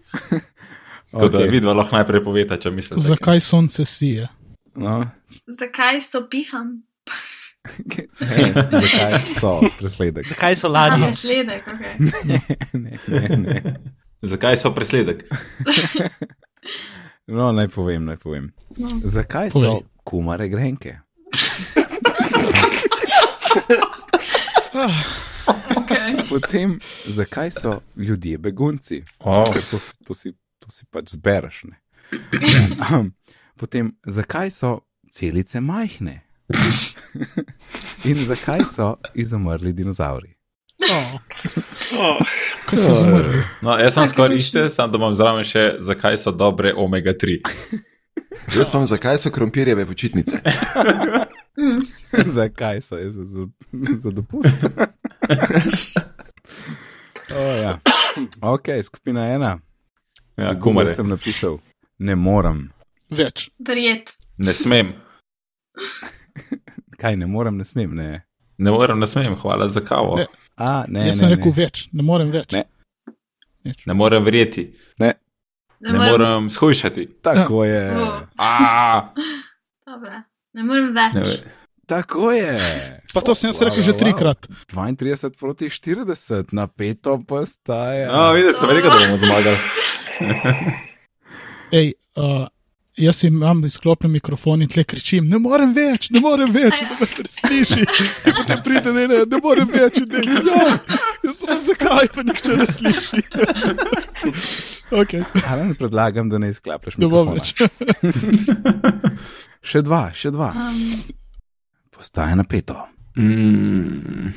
Speaker 2: Tako okay. da
Speaker 1: Okej.
Speaker 2: vidva lahko najprej poveta, če mislite.
Speaker 4: Zakaj sonce sije?
Speaker 1: No,
Speaker 3: Zakaj so piham?
Speaker 1: ne, zakaj so presledek?
Speaker 7: Zakaj so
Speaker 3: A,
Speaker 7: ladje?
Speaker 3: nasledek, ok.
Speaker 1: Ne, ne, ne.
Speaker 2: Zakaj so presledek?
Speaker 1: No, naj povem, naj povem.
Speaker 3: No.
Speaker 1: Zakaj
Speaker 4: Povej.
Speaker 1: so kumare grenke?
Speaker 3: Okay.
Speaker 1: Potem, zakaj so ljudje begunci?
Speaker 2: Oh.
Speaker 1: Ker to, si- to, si, to si pač zbereš. Ne? Potem, zakaj so celice majhne? In zakaj so izumrli dinozauri?
Speaker 7: Oh.
Speaker 5: Oh,
Speaker 4: Kaj so zumrli?
Speaker 2: No, jaz sem skoraj iste, samo da imam zraven še, zakaj so dobre omega-3.
Speaker 6: Jaz pa vem, zakaj so krompirjeve počitnice.
Speaker 3: Mm.
Speaker 1: zakaj so jaz za, za, za dopust? oh, ja. Ok, skupina ena.
Speaker 2: Ja,
Speaker 1: Kumar
Speaker 2: kumare.
Speaker 1: sem napisal, ne morem.
Speaker 4: Več.
Speaker 3: Verjet.
Speaker 2: Ne smem,
Speaker 1: Kaj ne morem, ne smem. Ne.
Speaker 2: ne morem, ne smem, hvala za kavo.
Speaker 4: Ne.
Speaker 2: Ne,
Speaker 1: A, ne,
Speaker 4: Jaz
Speaker 1: ne,
Speaker 4: sem rekel
Speaker 1: ne.
Speaker 4: več, ne morem več.
Speaker 1: Ne.
Speaker 4: Nič.
Speaker 2: ne morem verjeti,
Speaker 3: Ne,
Speaker 2: ne morem shujšati.
Speaker 1: Tako
Speaker 4: Ja.
Speaker 1: je.
Speaker 3: Oh,
Speaker 2: A,
Speaker 3: dobra. Ne morem
Speaker 2: ne
Speaker 3: več.
Speaker 2: ve-
Speaker 1: Tako je.
Speaker 4: Pa to sem jaz
Speaker 1: Wow,
Speaker 4: rekel
Speaker 1: wow,
Speaker 4: že
Speaker 1: wow.
Speaker 4: trikrat.
Speaker 1: 32 proti 40, napeto postaje.
Speaker 2: No, videl sem, rekel, da bomo zmagali.
Speaker 4: Ej, uh, jaz imam izklopljen mikrofon in tle kričim, ne morem več, ne morem več, da me presliši. In potem pride, ne, ne, ne morem več, in ne, ja, jaz sem zakaj, pa nihče ne sliši. ok,
Speaker 1: Ali ne predlagam, da ne izklapljaš
Speaker 4: ne bom
Speaker 1: mikrofona.
Speaker 4: več.
Speaker 1: Še dva, še dva. Postaje napeto.
Speaker 2: Mm,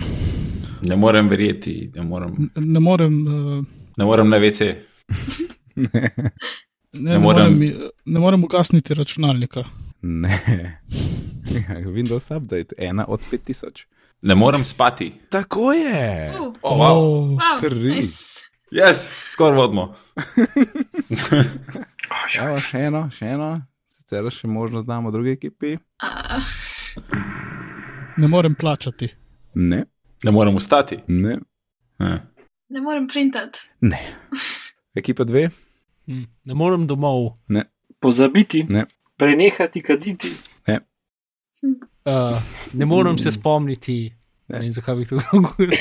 Speaker 2: ne morem verjeti, ne morem,
Speaker 4: Ne morem. Uh,
Speaker 2: ne morem na WC.
Speaker 4: Ne, ne, morem,
Speaker 2: morem-
Speaker 4: mi- ne morem ugasniti računalnika.
Speaker 1: Ne. Ja, Windows update, ena od 5000.
Speaker 2: Ne morem spati.
Speaker 1: Tako je.
Speaker 3: Uh,
Speaker 2: Oh, wow.
Speaker 4: Oh,
Speaker 3: wow,
Speaker 1: Tri.
Speaker 3: nice.
Speaker 2: Jaz, skoraj vodimo.
Speaker 1: Evo, še eno, še eno. Sicer še možnost damo drugi ekipi.
Speaker 4: ne morem plačati.
Speaker 1: Ne,
Speaker 2: Ne morem ustati.
Speaker 1: ne,
Speaker 2: Ne.
Speaker 3: Ne morem printati.
Speaker 1: ne. Ekipa dve,
Speaker 7: Hm. Ne morem domov.
Speaker 5: pozabiti,
Speaker 1: Ne.
Speaker 5: prenehati kaditi.
Speaker 7: Uh, ne morem
Speaker 1: Mm.
Speaker 7: se spomniti. Ne vem, zakaj bi to govoril.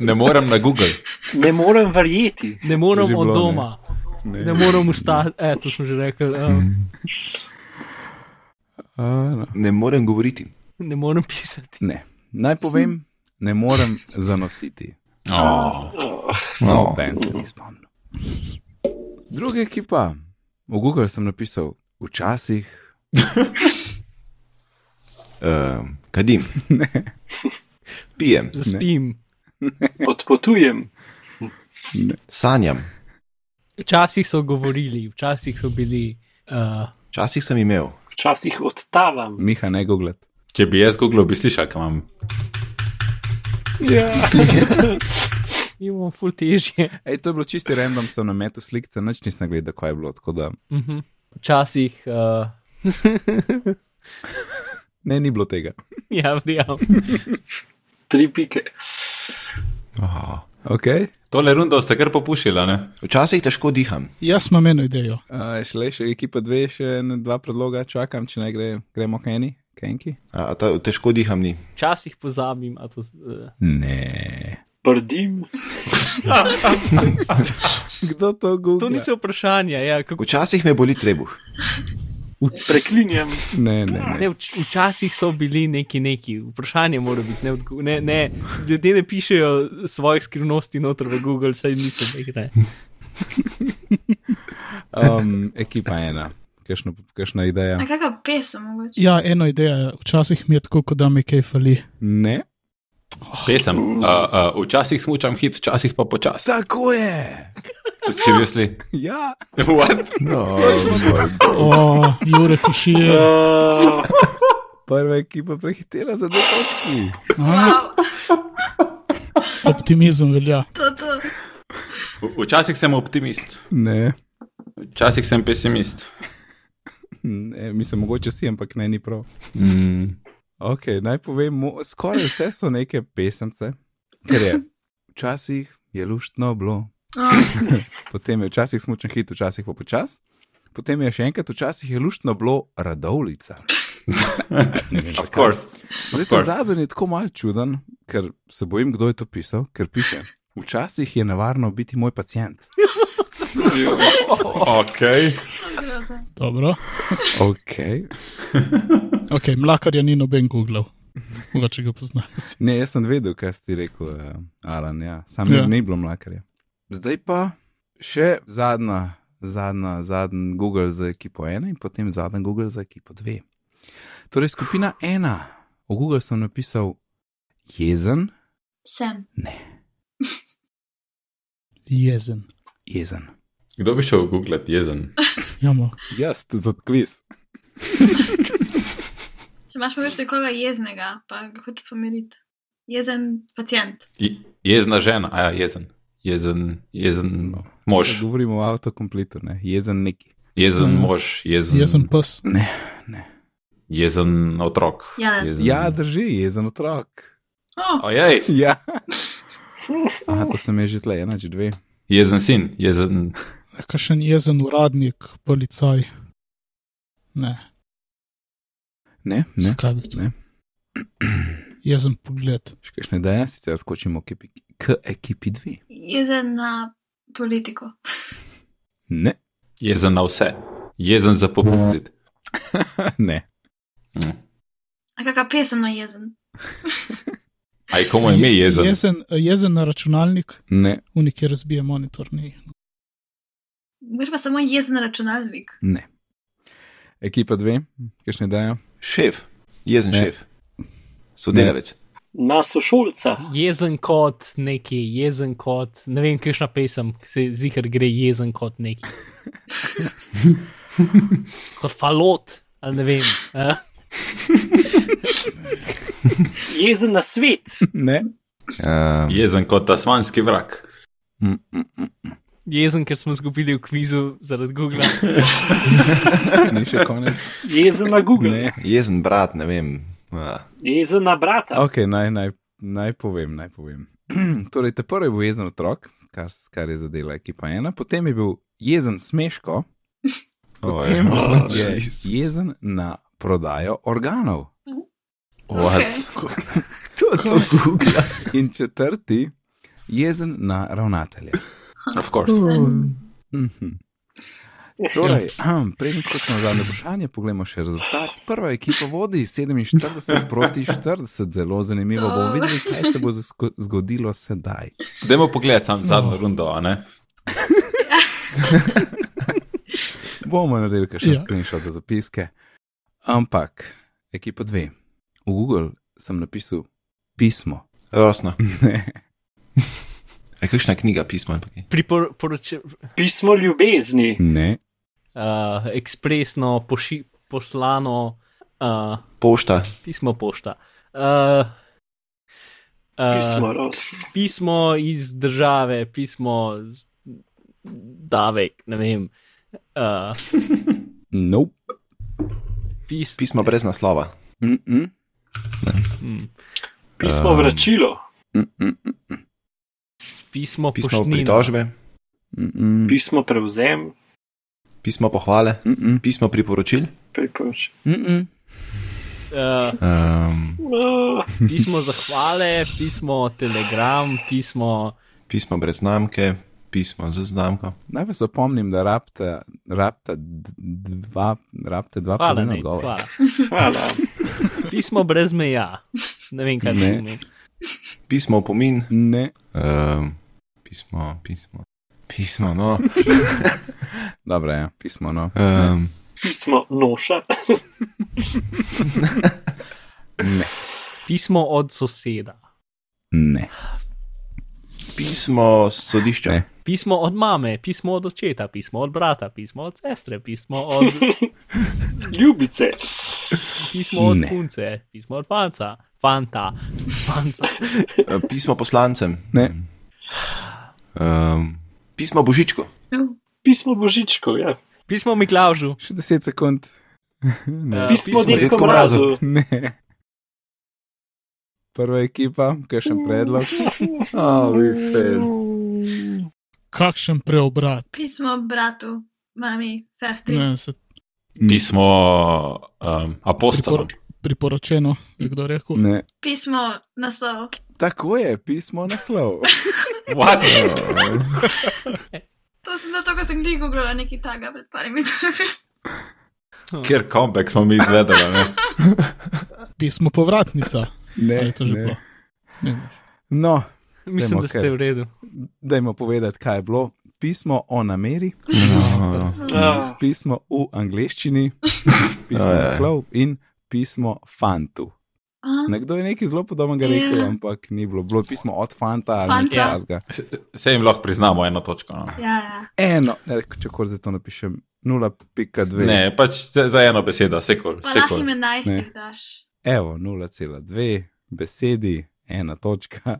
Speaker 2: ne morem na Google.
Speaker 5: Ne morem verjeti.
Speaker 7: Ne morem
Speaker 1: Že
Speaker 7: od
Speaker 1: bilo, ne.
Speaker 7: doma, ne, ne morem ustati. E, to smo že rekli. Um,
Speaker 1: A, no.
Speaker 6: Ne morem govoriti.
Speaker 7: ne morem pisati.
Speaker 1: ne. Naj povem, ne morem zanositi.
Speaker 2: Oh.
Speaker 5: Ah,
Speaker 1: No, ben se nisem spomnil. Druga ekipa, v Google sem napisal, včasih
Speaker 6: Uh, kadim. Pijem,
Speaker 7: Zaspim.
Speaker 5: Odpotujem.
Speaker 6: sanjam.
Speaker 7: Včasih so govorili, včasih so bili. Uh,
Speaker 6: Včasih sem imel.
Speaker 5: Včasih odtavam.
Speaker 1: Miha ne googlat.
Speaker 2: Če bi jaz Google, bi slišal, kaj imam.
Speaker 7: imamo ful težje.
Speaker 1: Ej, to je bilo čisto random, sem na metu slikce, nič nisem gledal, kaj je bilo. Tako da
Speaker 7: Uh -huh. Včasih. Uh,
Speaker 1: ne, ni bilo tega.
Speaker 7: ja, verjamem.
Speaker 5: Tri pike.
Speaker 1: Okay.
Speaker 2: Tole rundo ste kar popušila, ne?
Speaker 6: Včasih težko diham.
Speaker 4: Jaz imam eno idejo.
Speaker 1: Uh, šele še ekipa dve, še ene dva predloga, čakam, če ne gre, gremo k eni, k enki.
Speaker 6: A, ta, težko diham ni.
Speaker 7: Včasih pozabim, a to. Uh,
Speaker 1: Ne.
Speaker 5: Prdim.
Speaker 1: Kdo to googla?
Speaker 7: to niso vprašanja. Ja, kako,
Speaker 6: Včasih me boli trebuh.
Speaker 5: Preklinjam.
Speaker 1: Ne, ne, ne.
Speaker 7: ne, vč, včasih so bili neki neki. Vprašanje mora biti. Ne, odgo- ne, ne, ljudje ne pišejo svojih skrivnosti noter v Google, saj mislim, da jih ne.
Speaker 1: Um, ekipa ena. Kakšno- Kakšna ideja?
Speaker 3: A kakšna pesem mogoče?
Speaker 4: Ja, eno idejo je, včasih mi je tako, kot da mi kaj fali.
Speaker 1: Ne.
Speaker 2: Pesem. Uh, uh, včasih smučam hit, včasih pa počasi.
Speaker 1: Tako je.
Speaker 2: Seriously?
Speaker 1: Ja.
Speaker 2: What?
Speaker 6: No,
Speaker 4: O, oh, Jure Košije.
Speaker 5: Uh,
Speaker 1: Prva ekipa prehitela za dve točki.
Speaker 3: Wow,
Speaker 4: Optimizem velja.
Speaker 3: to, to.
Speaker 2: V- Včasih sem optimist,
Speaker 1: Ne.
Speaker 2: včasih sem pesimist.
Speaker 1: ne mislim, mogoče si, ampak ne, ni prav.
Speaker 2: Mm.
Speaker 1: Ok, naj povem, mo- skoraj vse so neke pesemce, ker je včasih je luštno bilo,
Speaker 2: Ah.
Speaker 3: Oh,
Speaker 1: potem je včasih smučen hit, včasih pa počas, potem je še enkrat včasih je luštno bilo radovlica. Ne vem,
Speaker 2: Of
Speaker 1: zakaj.
Speaker 2: course.
Speaker 1: Zdaj, ta
Speaker 2: course.
Speaker 1: zadnji je tako malce čuden, ker se bojim, kdo je to pisal, ker piše. Včasih je nevarno biti moj pacijent.
Speaker 2: Ok.
Speaker 3: Groza.
Speaker 4: Dobro.
Speaker 1: Okay.
Speaker 4: Ok, mlakarja ni noben googlal. Mogoče ga poznaš.
Speaker 1: Ne, jaz sem vedel, kaj si ti rekel, eh, Alan, ja. sam
Speaker 4: Ja.
Speaker 1: ja. ni bilo mlakarja. Zdaj pa še zadnja, zadnja, zadnji Google za ekipo ena in potem zadnji Google za ekipo dve. Torej, skupina ena, v Google sem napisal jezen,
Speaker 3: Sem.
Speaker 4: Jezen.
Speaker 1: jezen.
Speaker 2: Kdo bi šel googlati jezen?
Speaker 4: Jamo.
Speaker 1: Jaz za kviz.
Speaker 3: Če imaš mogoče nekoga jeznega, pa ga hočeš pomiriti. Jezen pacijent.
Speaker 2: Je- Jezna žena, a ja, jezen. Jezen, jezen mož,
Speaker 1: Govorimo o avtokompletu, ne? jezen neki.
Speaker 2: jezen mož, jezen,
Speaker 4: Jezen pes.
Speaker 2: jezen otrok.
Speaker 3: Jelen.
Speaker 2: Jezen...
Speaker 1: Ja, drži, jezen otrok.
Speaker 3: Oh,
Speaker 2: Ojej,
Speaker 1: Ja. Aha, to sem jaz že tle, ena, že dve.
Speaker 2: jezen sin, jezen.
Speaker 4: Kakšen jezen uradnik, policaj. Ne,
Speaker 1: Ne, ne.
Speaker 4: zakaj bi to?
Speaker 1: ne.
Speaker 4: Jezen pogled.
Speaker 1: Še kakšne ideje, sicer skočimo k, epi- k ekipi dve.
Speaker 3: jezen na politiko.
Speaker 1: Ne,
Speaker 2: Jezen na vse, jezen za popustiti.
Speaker 1: ne.
Speaker 3: A kakšna pesem na jezen?
Speaker 2: Aj komu ime jezen?
Speaker 4: Jezen, jezen na računalnik,
Speaker 1: Ne,
Speaker 4: unik je razbije monitor. Ni.
Speaker 3: Gre pa samo jezen računalnik.
Speaker 1: ne. Ekipa dve, kakšne ideje?
Speaker 6: Šef, jezen
Speaker 1: Ne.
Speaker 6: šef, sodelavec.
Speaker 5: Na sošolca.
Speaker 7: Jezen kot neki, jezen kot, ne vem, kakšna pesem, ki se zihar gre jezen kot neki. kot falot, ali ne vem. eh.
Speaker 5: Jezen na svet.
Speaker 1: Ne.
Speaker 6: Uh,
Speaker 2: Jezen kot tasmanski vrak.
Speaker 1: Mm, mm, mm.
Speaker 7: Jezen, ker smo izgubili v kvizu zaradi Google.
Speaker 1: Ni še konec.
Speaker 5: Jezen na Google.
Speaker 1: Ne.
Speaker 6: jezen brat, ne vem. Uh,
Speaker 5: Jezen na brata.
Speaker 1: Ok, naj, naj, naj povem, naj povem. torej, te prvi je bil jezen otrok, kar, s- kar je zadela ekipa ena, potem je bil jezen smeško, potem
Speaker 6: oh,
Speaker 1: je jezen na prodajo organov.
Speaker 2: What?
Speaker 6: to, to Google.
Speaker 1: In četrti, jezen na ravnatelje.
Speaker 2: Of course.
Speaker 1: Mhm.
Speaker 7: Eh.
Speaker 1: Torej, ahem, preden skočimo na zadnje vprašanje, poglejmo še rezultat. Prva ekipa vodi 47 proti 40, zelo zanimivo.
Speaker 7: Ah.
Speaker 1: Bomo videli, kaj se bo zasko- zgodilo sedaj.
Speaker 2: Dajmo pogled sam zadnjo rundo, a ne?
Speaker 1: Bomo naredili še
Speaker 4: Ja.
Speaker 1: ja. screenshot za zapiske. Ampak, ekipa 2, v Google sem napisal pismo.
Speaker 6: Rosno.
Speaker 1: Ne,
Speaker 6: Je kakšna knjiga, pismo? ali pa kaj?
Speaker 7: Priporočam
Speaker 5: Pismo ljubezni.
Speaker 1: ne,
Speaker 7: uh, ekspresno poši, poslano uh,
Speaker 6: Pošta.
Speaker 7: pismo pošta. Uh,
Speaker 5: Ja. Pismo rosno.
Speaker 7: pismo iz države, pismo davek, ne vem. Uh,
Speaker 1: nope.
Speaker 7: pis,
Speaker 6: Pismo brez naslova.
Speaker 1: Mm -mm.
Speaker 7: mm,
Speaker 5: Pismo
Speaker 6: Um,
Speaker 5: vračilo.
Speaker 1: Mm -mm.
Speaker 7: pismo,
Speaker 6: Pismo
Speaker 7: poštnina.
Speaker 6: pritožbe,
Speaker 1: Mm -mm.
Speaker 5: Pismo prevzem.
Speaker 6: pismo pohvale,
Speaker 1: Mm -mm.
Speaker 6: pismo priporočil.
Speaker 5: Priporočil.
Speaker 1: Mm -mm.
Speaker 7: Uh,
Speaker 6: Um,
Speaker 5: Uh,
Speaker 7: pismo zahvale, pismo telegram, pismo.
Speaker 6: pismo brez znamke, pismo z znamko.
Speaker 1: Naj vas opomnim, da rabta, rabta d- dva, rabta dva
Speaker 7: Hvala,
Speaker 1: pravilna
Speaker 7: ne,
Speaker 1: odgovora.
Speaker 7: hvala.
Speaker 5: hvala.
Speaker 7: Pismo brez meja. Ne vem, kaj
Speaker 1: Ne.
Speaker 7: ne. pomeni.
Speaker 6: Pismo opomin,
Speaker 1: Ne,
Speaker 6: um, pismo, pismo. Pismo, no.
Speaker 1: dobro je, pismo. No.
Speaker 6: Um,
Speaker 5: Pismo noša.
Speaker 1: Ne,
Speaker 7: Pismo od soseda,
Speaker 1: ne,
Speaker 6: pismo s sodišča.
Speaker 1: Ne.
Speaker 7: pismo od mame, pismo od očeta, pismo od brata, pismo od sestre, pismo od,
Speaker 5: Ljubice.
Speaker 7: pismo od
Speaker 1: Ne.
Speaker 7: punce, pismo od fanca, fanta, fanca.
Speaker 6: Eh, Pismo poslancem.
Speaker 1: Ne.
Speaker 6: Um, pismo božičku.
Speaker 5: Pismo božičko, ja.
Speaker 7: Pismo Miklaužu,
Speaker 1: še 10 sekund.
Speaker 7: Eh,
Speaker 1: Ne,
Speaker 5: Ja, Pismo
Speaker 7: Pismo
Speaker 5: detko
Speaker 6: Dedku
Speaker 5: mrazu.
Speaker 6: Mrazu.
Speaker 1: ne. Prva ekipa, kaj še predlog?
Speaker 4: Kakšen preobrat.
Speaker 3: Pismo bratu, mami, sestri.
Speaker 4: Ne, se
Speaker 2: Pismo um, apostolom.
Speaker 4: pripor, priporočeno, je kdo rekel.
Speaker 1: Ne.
Speaker 3: Pismo naslov.
Speaker 1: Tako je, pismo naslov.
Speaker 2: What?
Speaker 3: To sem zato, ker sem glih googlala nekaj taga pred parimi dnevi.
Speaker 2: Ker kompek smo mi izvedeli, ne?
Speaker 4: Pismo povratnica.
Speaker 1: Ne,
Speaker 4: Ali je to že bilo?
Speaker 1: No,
Speaker 7: Mislim,
Speaker 1: Gremo,
Speaker 7: da ste
Speaker 1: ker-
Speaker 7: v redu.
Speaker 1: dajmo povedati, kaj je bilo. Pismo o nameri,
Speaker 4: No.
Speaker 5: Ah,
Speaker 1: pismo v angleščini, pismo
Speaker 6: Ajaj.
Speaker 1: naslov in pismo fantu. Nekdo je nekaj zelo podobnega
Speaker 3: Ja.
Speaker 1: rekel, ampak ni bilo. Bilo je pismo od fanta ali
Speaker 3: Fanta.
Speaker 1: nekaj razga.
Speaker 2: Se jim lahko priznamo eno točko. No.
Speaker 3: Ja, ja.
Speaker 1: Eno, ne, če kor za to napišem, 0,2.
Speaker 2: Ne, pač za, za eno besedo, sekol.
Speaker 3: Pa lahko ime najstnik
Speaker 1: Ne.
Speaker 3: daš.
Speaker 1: Evo, 0,2 besedi, ena točka.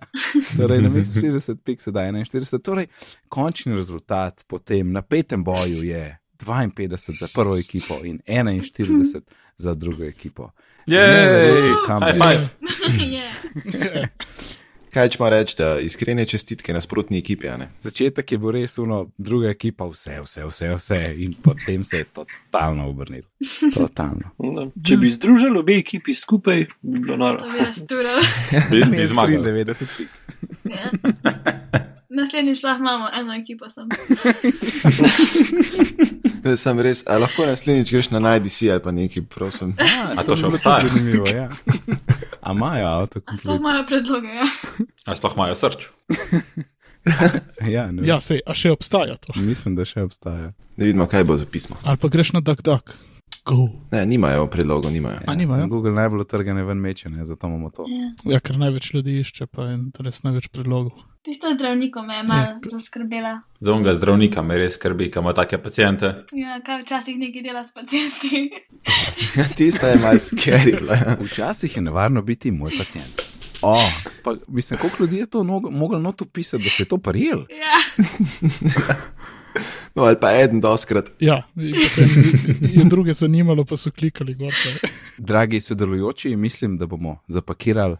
Speaker 1: Torej, na mestu 40 pik se da 41. Torej, končni rezultat po tem napetem boju je 52 za prvo ekipo in 41 za drugo ekipo.
Speaker 2: Jej,
Speaker 1: Kam
Speaker 2: high
Speaker 1: bi-
Speaker 2: five.
Speaker 3: Je.
Speaker 6: Kaj če ima reči, da iskrene čestitke nasprotni ekipi, a ne?
Speaker 1: Začetek je bil res uno, druga ekipa, vse, vse, vse, vse. In potem se je totalno obrnilo. Totalno.
Speaker 5: no, Če
Speaker 7: Ja.
Speaker 5: bi združili obe ekipi skupaj, bi bilo noro.
Speaker 3: To bi rasturalo.
Speaker 2: Bi, bi zmagal.
Speaker 1: 93 pik.
Speaker 3: Ja. Naslednjič lahko imamo eno ekipo sem.
Speaker 6: Da sem res, a lahko naslednjič greš na NIDC ali pa nekaj, prosim.
Speaker 2: A to še
Speaker 1: bi bilo
Speaker 2: obstaja?
Speaker 1: tudi Zanimivo, ja. A imajo avto?
Speaker 3: A to imajo predloge, ja.
Speaker 2: A sploh imajo srč.
Speaker 1: Ja, ne.
Speaker 4: Ja, sej, a še obstaja to.
Speaker 1: Mislim, da še obstaja.
Speaker 6: Da vidimo, kaj bo za pismo.
Speaker 4: Ali pa greš na dak dak. Go.
Speaker 6: Ne, nimajo predlogov, nimajo.
Speaker 1: Ja,
Speaker 4: A nimajo?
Speaker 1: samo Google najbolj trgane ven meče, ne? zato imamo to.
Speaker 4: Ja, ker največ ljudi išče, pa je res največ predlogov.
Speaker 3: Tista zdravnika me je ja, malo zaskrbela.
Speaker 2: Za unga zdravnika me res skrbi, kam ima take pacijente.
Speaker 3: Ja, kaj včasih nekaj dela s pacijenti.
Speaker 6: Ja, tista je malo scary. bila, ja.
Speaker 1: Včasih je nevarno biti moj pacijent. Oh, pa, mislim, koliko ljudi je to nog- moglo not upisati, da se je to prijel?
Speaker 3: Ja,
Speaker 6: No, ali pa eden doskrat.
Speaker 4: Ja, in potem je druge zanimalo, pa so klikali gor. pa-
Speaker 1: Dragi sodelujoči, mislim, da bomo zapakirali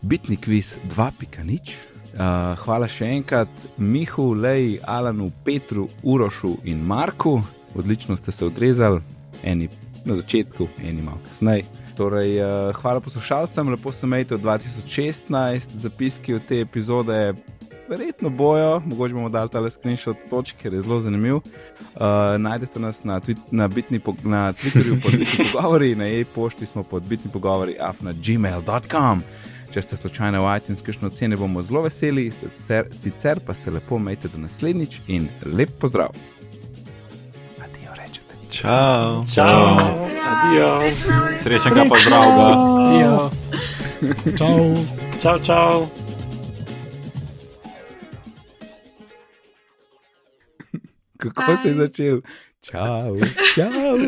Speaker 1: bitni kviz 2.0. Uh, hvala še enkrat Mihu, Leji, Alanu, Petru, Urošu in Marku. Odlično ste se odrezali, eni na začetku, eni malo kasneje. Torej, uh, hvala poslušalcem, lepo se imejte od 2016, zapiski od te epizode. Verjetno bojo, mogoče bomo dali ta screenshot točk, ker je zelo zanimiv. Uh, najdete nas na, tweet, na, bitni po, na Twitterju pod bitni pogovori, na e-pošti smo pod bitni pogovori, afna.gmail.com. Če ste slučajno v iTunes, kakšno ocene bomo zelo veseli, sicer, sicer pa se lepo majte do naslednjič in lep pozdrav. Adijo rečete.
Speaker 6: Čau.
Speaker 5: Čau. Adijo.
Speaker 2: Srečnega pozdravga.
Speaker 5: Adijo.
Speaker 7: Ja,
Speaker 4: Čau.
Speaker 5: Čau, čau.
Speaker 1: Kako
Speaker 3: Bye.
Speaker 1: se je začel? Čau, čau.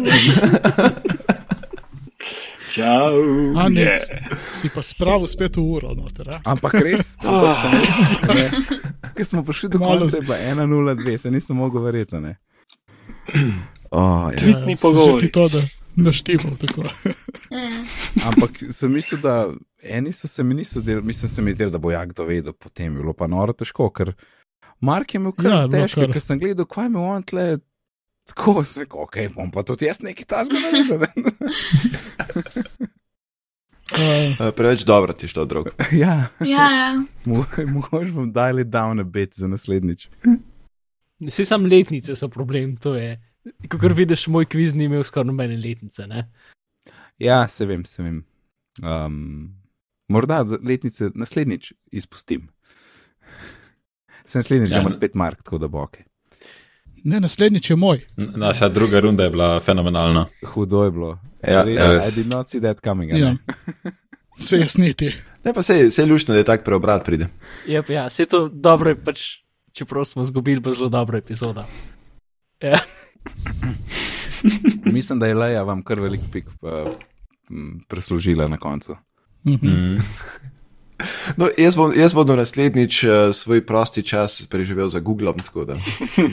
Speaker 5: Čau.
Speaker 4: Anec, si pa spravo spet v uro, noter. a?
Speaker 1: Ampak res,
Speaker 5: Ah,
Speaker 1: ker smo prišli do
Speaker 4: Malo
Speaker 1: konca,
Speaker 4: z-
Speaker 1: je bila 1-0-2, se nisem mogel verjeti. a ne. Oh, ja.
Speaker 5: Tvitni
Speaker 4: Ja,
Speaker 5: pogovori.
Speaker 4: Že ti to, da naštimal tako.
Speaker 1: Ampak sem mislil, da eni so se mi niso zdeli, mislim, se mi zdel, da bo jak dovedel, potem je bilo pa noro težko, ker Mark je imel kar
Speaker 4: Ja,
Speaker 1: ja,
Speaker 4: je bilo
Speaker 1: težko,
Speaker 4: kar.
Speaker 1: ker sem gledal, kaj me on tle. Tako se reče, ok, bom pa tudi jaz nekaj tasga naredil.
Speaker 4: Uh,
Speaker 6: Eh, Preveč dobro ti je šlo, drug.
Speaker 1: ja,
Speaker 3: ja, ja.
Speaker 1: mo- mogoče bom dal down a bit za naslednjič.
Speaker 7: Vsi sam letnice so problem, to je. Kakor vidiš, moj kviz ni imel skoraj nobene letnice. Ne?
Speaker 1: Ja, se vem, se vem. Um, morda za letnice naslednjič izpustim. Sem naslednjič,
Speaker 2: Ja,
Speaker 1: da ima
Speaker 2: ne.
Speaker 1: spet Mark, tako da bo ok.
Speaker 4: ne, naslednjič je moj.
Speaker 2: N- Naša druga runda je bila fenomenalna.
Speaker 1: Hudo je bilo.
Speaker 6: Ja,
Speaker 1: res,
Speaker 6: ja, res.
Speaker 1: I did not see that coming. a ne.
Speaker 4: Ja. Se jaz niti.
Speaker 6: Ne, pa sej, sej lušno, da je tak preobrat pride.
Speaker 7: Je pa ja, vse to dobro je pač, čeprav smo zgubili, pa zelo dobra epizoda. Ja.
Speaker 1: Mislim, da je Leja vam kar velik pik uh, m, preslužila na koncu.
Speaker 4: Mhm.
Speaker 2: Mm.
Speaker 6: No, jaz bom, jaz bom do naslednjič eh, svoj prosti čas preživel za Googlom, tako da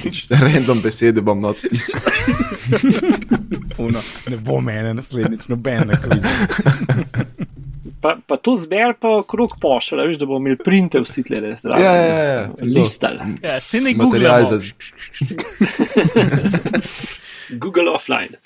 Speaker 6: pač random besede bom not pisal.
Speaker 1: Uno, ne bo mene naslednjič, nobene krize.
Speaker 5: pa, pa to zber pa okrog pošlja, veš, da bomo imeli printe vsi tle zraven.
Speaker 6: Ja, ja, ja, ja.
Speaker 5: Listal.
Speaker 7: Ja, se ne
Speaker 6: Material
Speaker 7: googlamo.
Speaker 6: za.
Speaker 5: Google offline.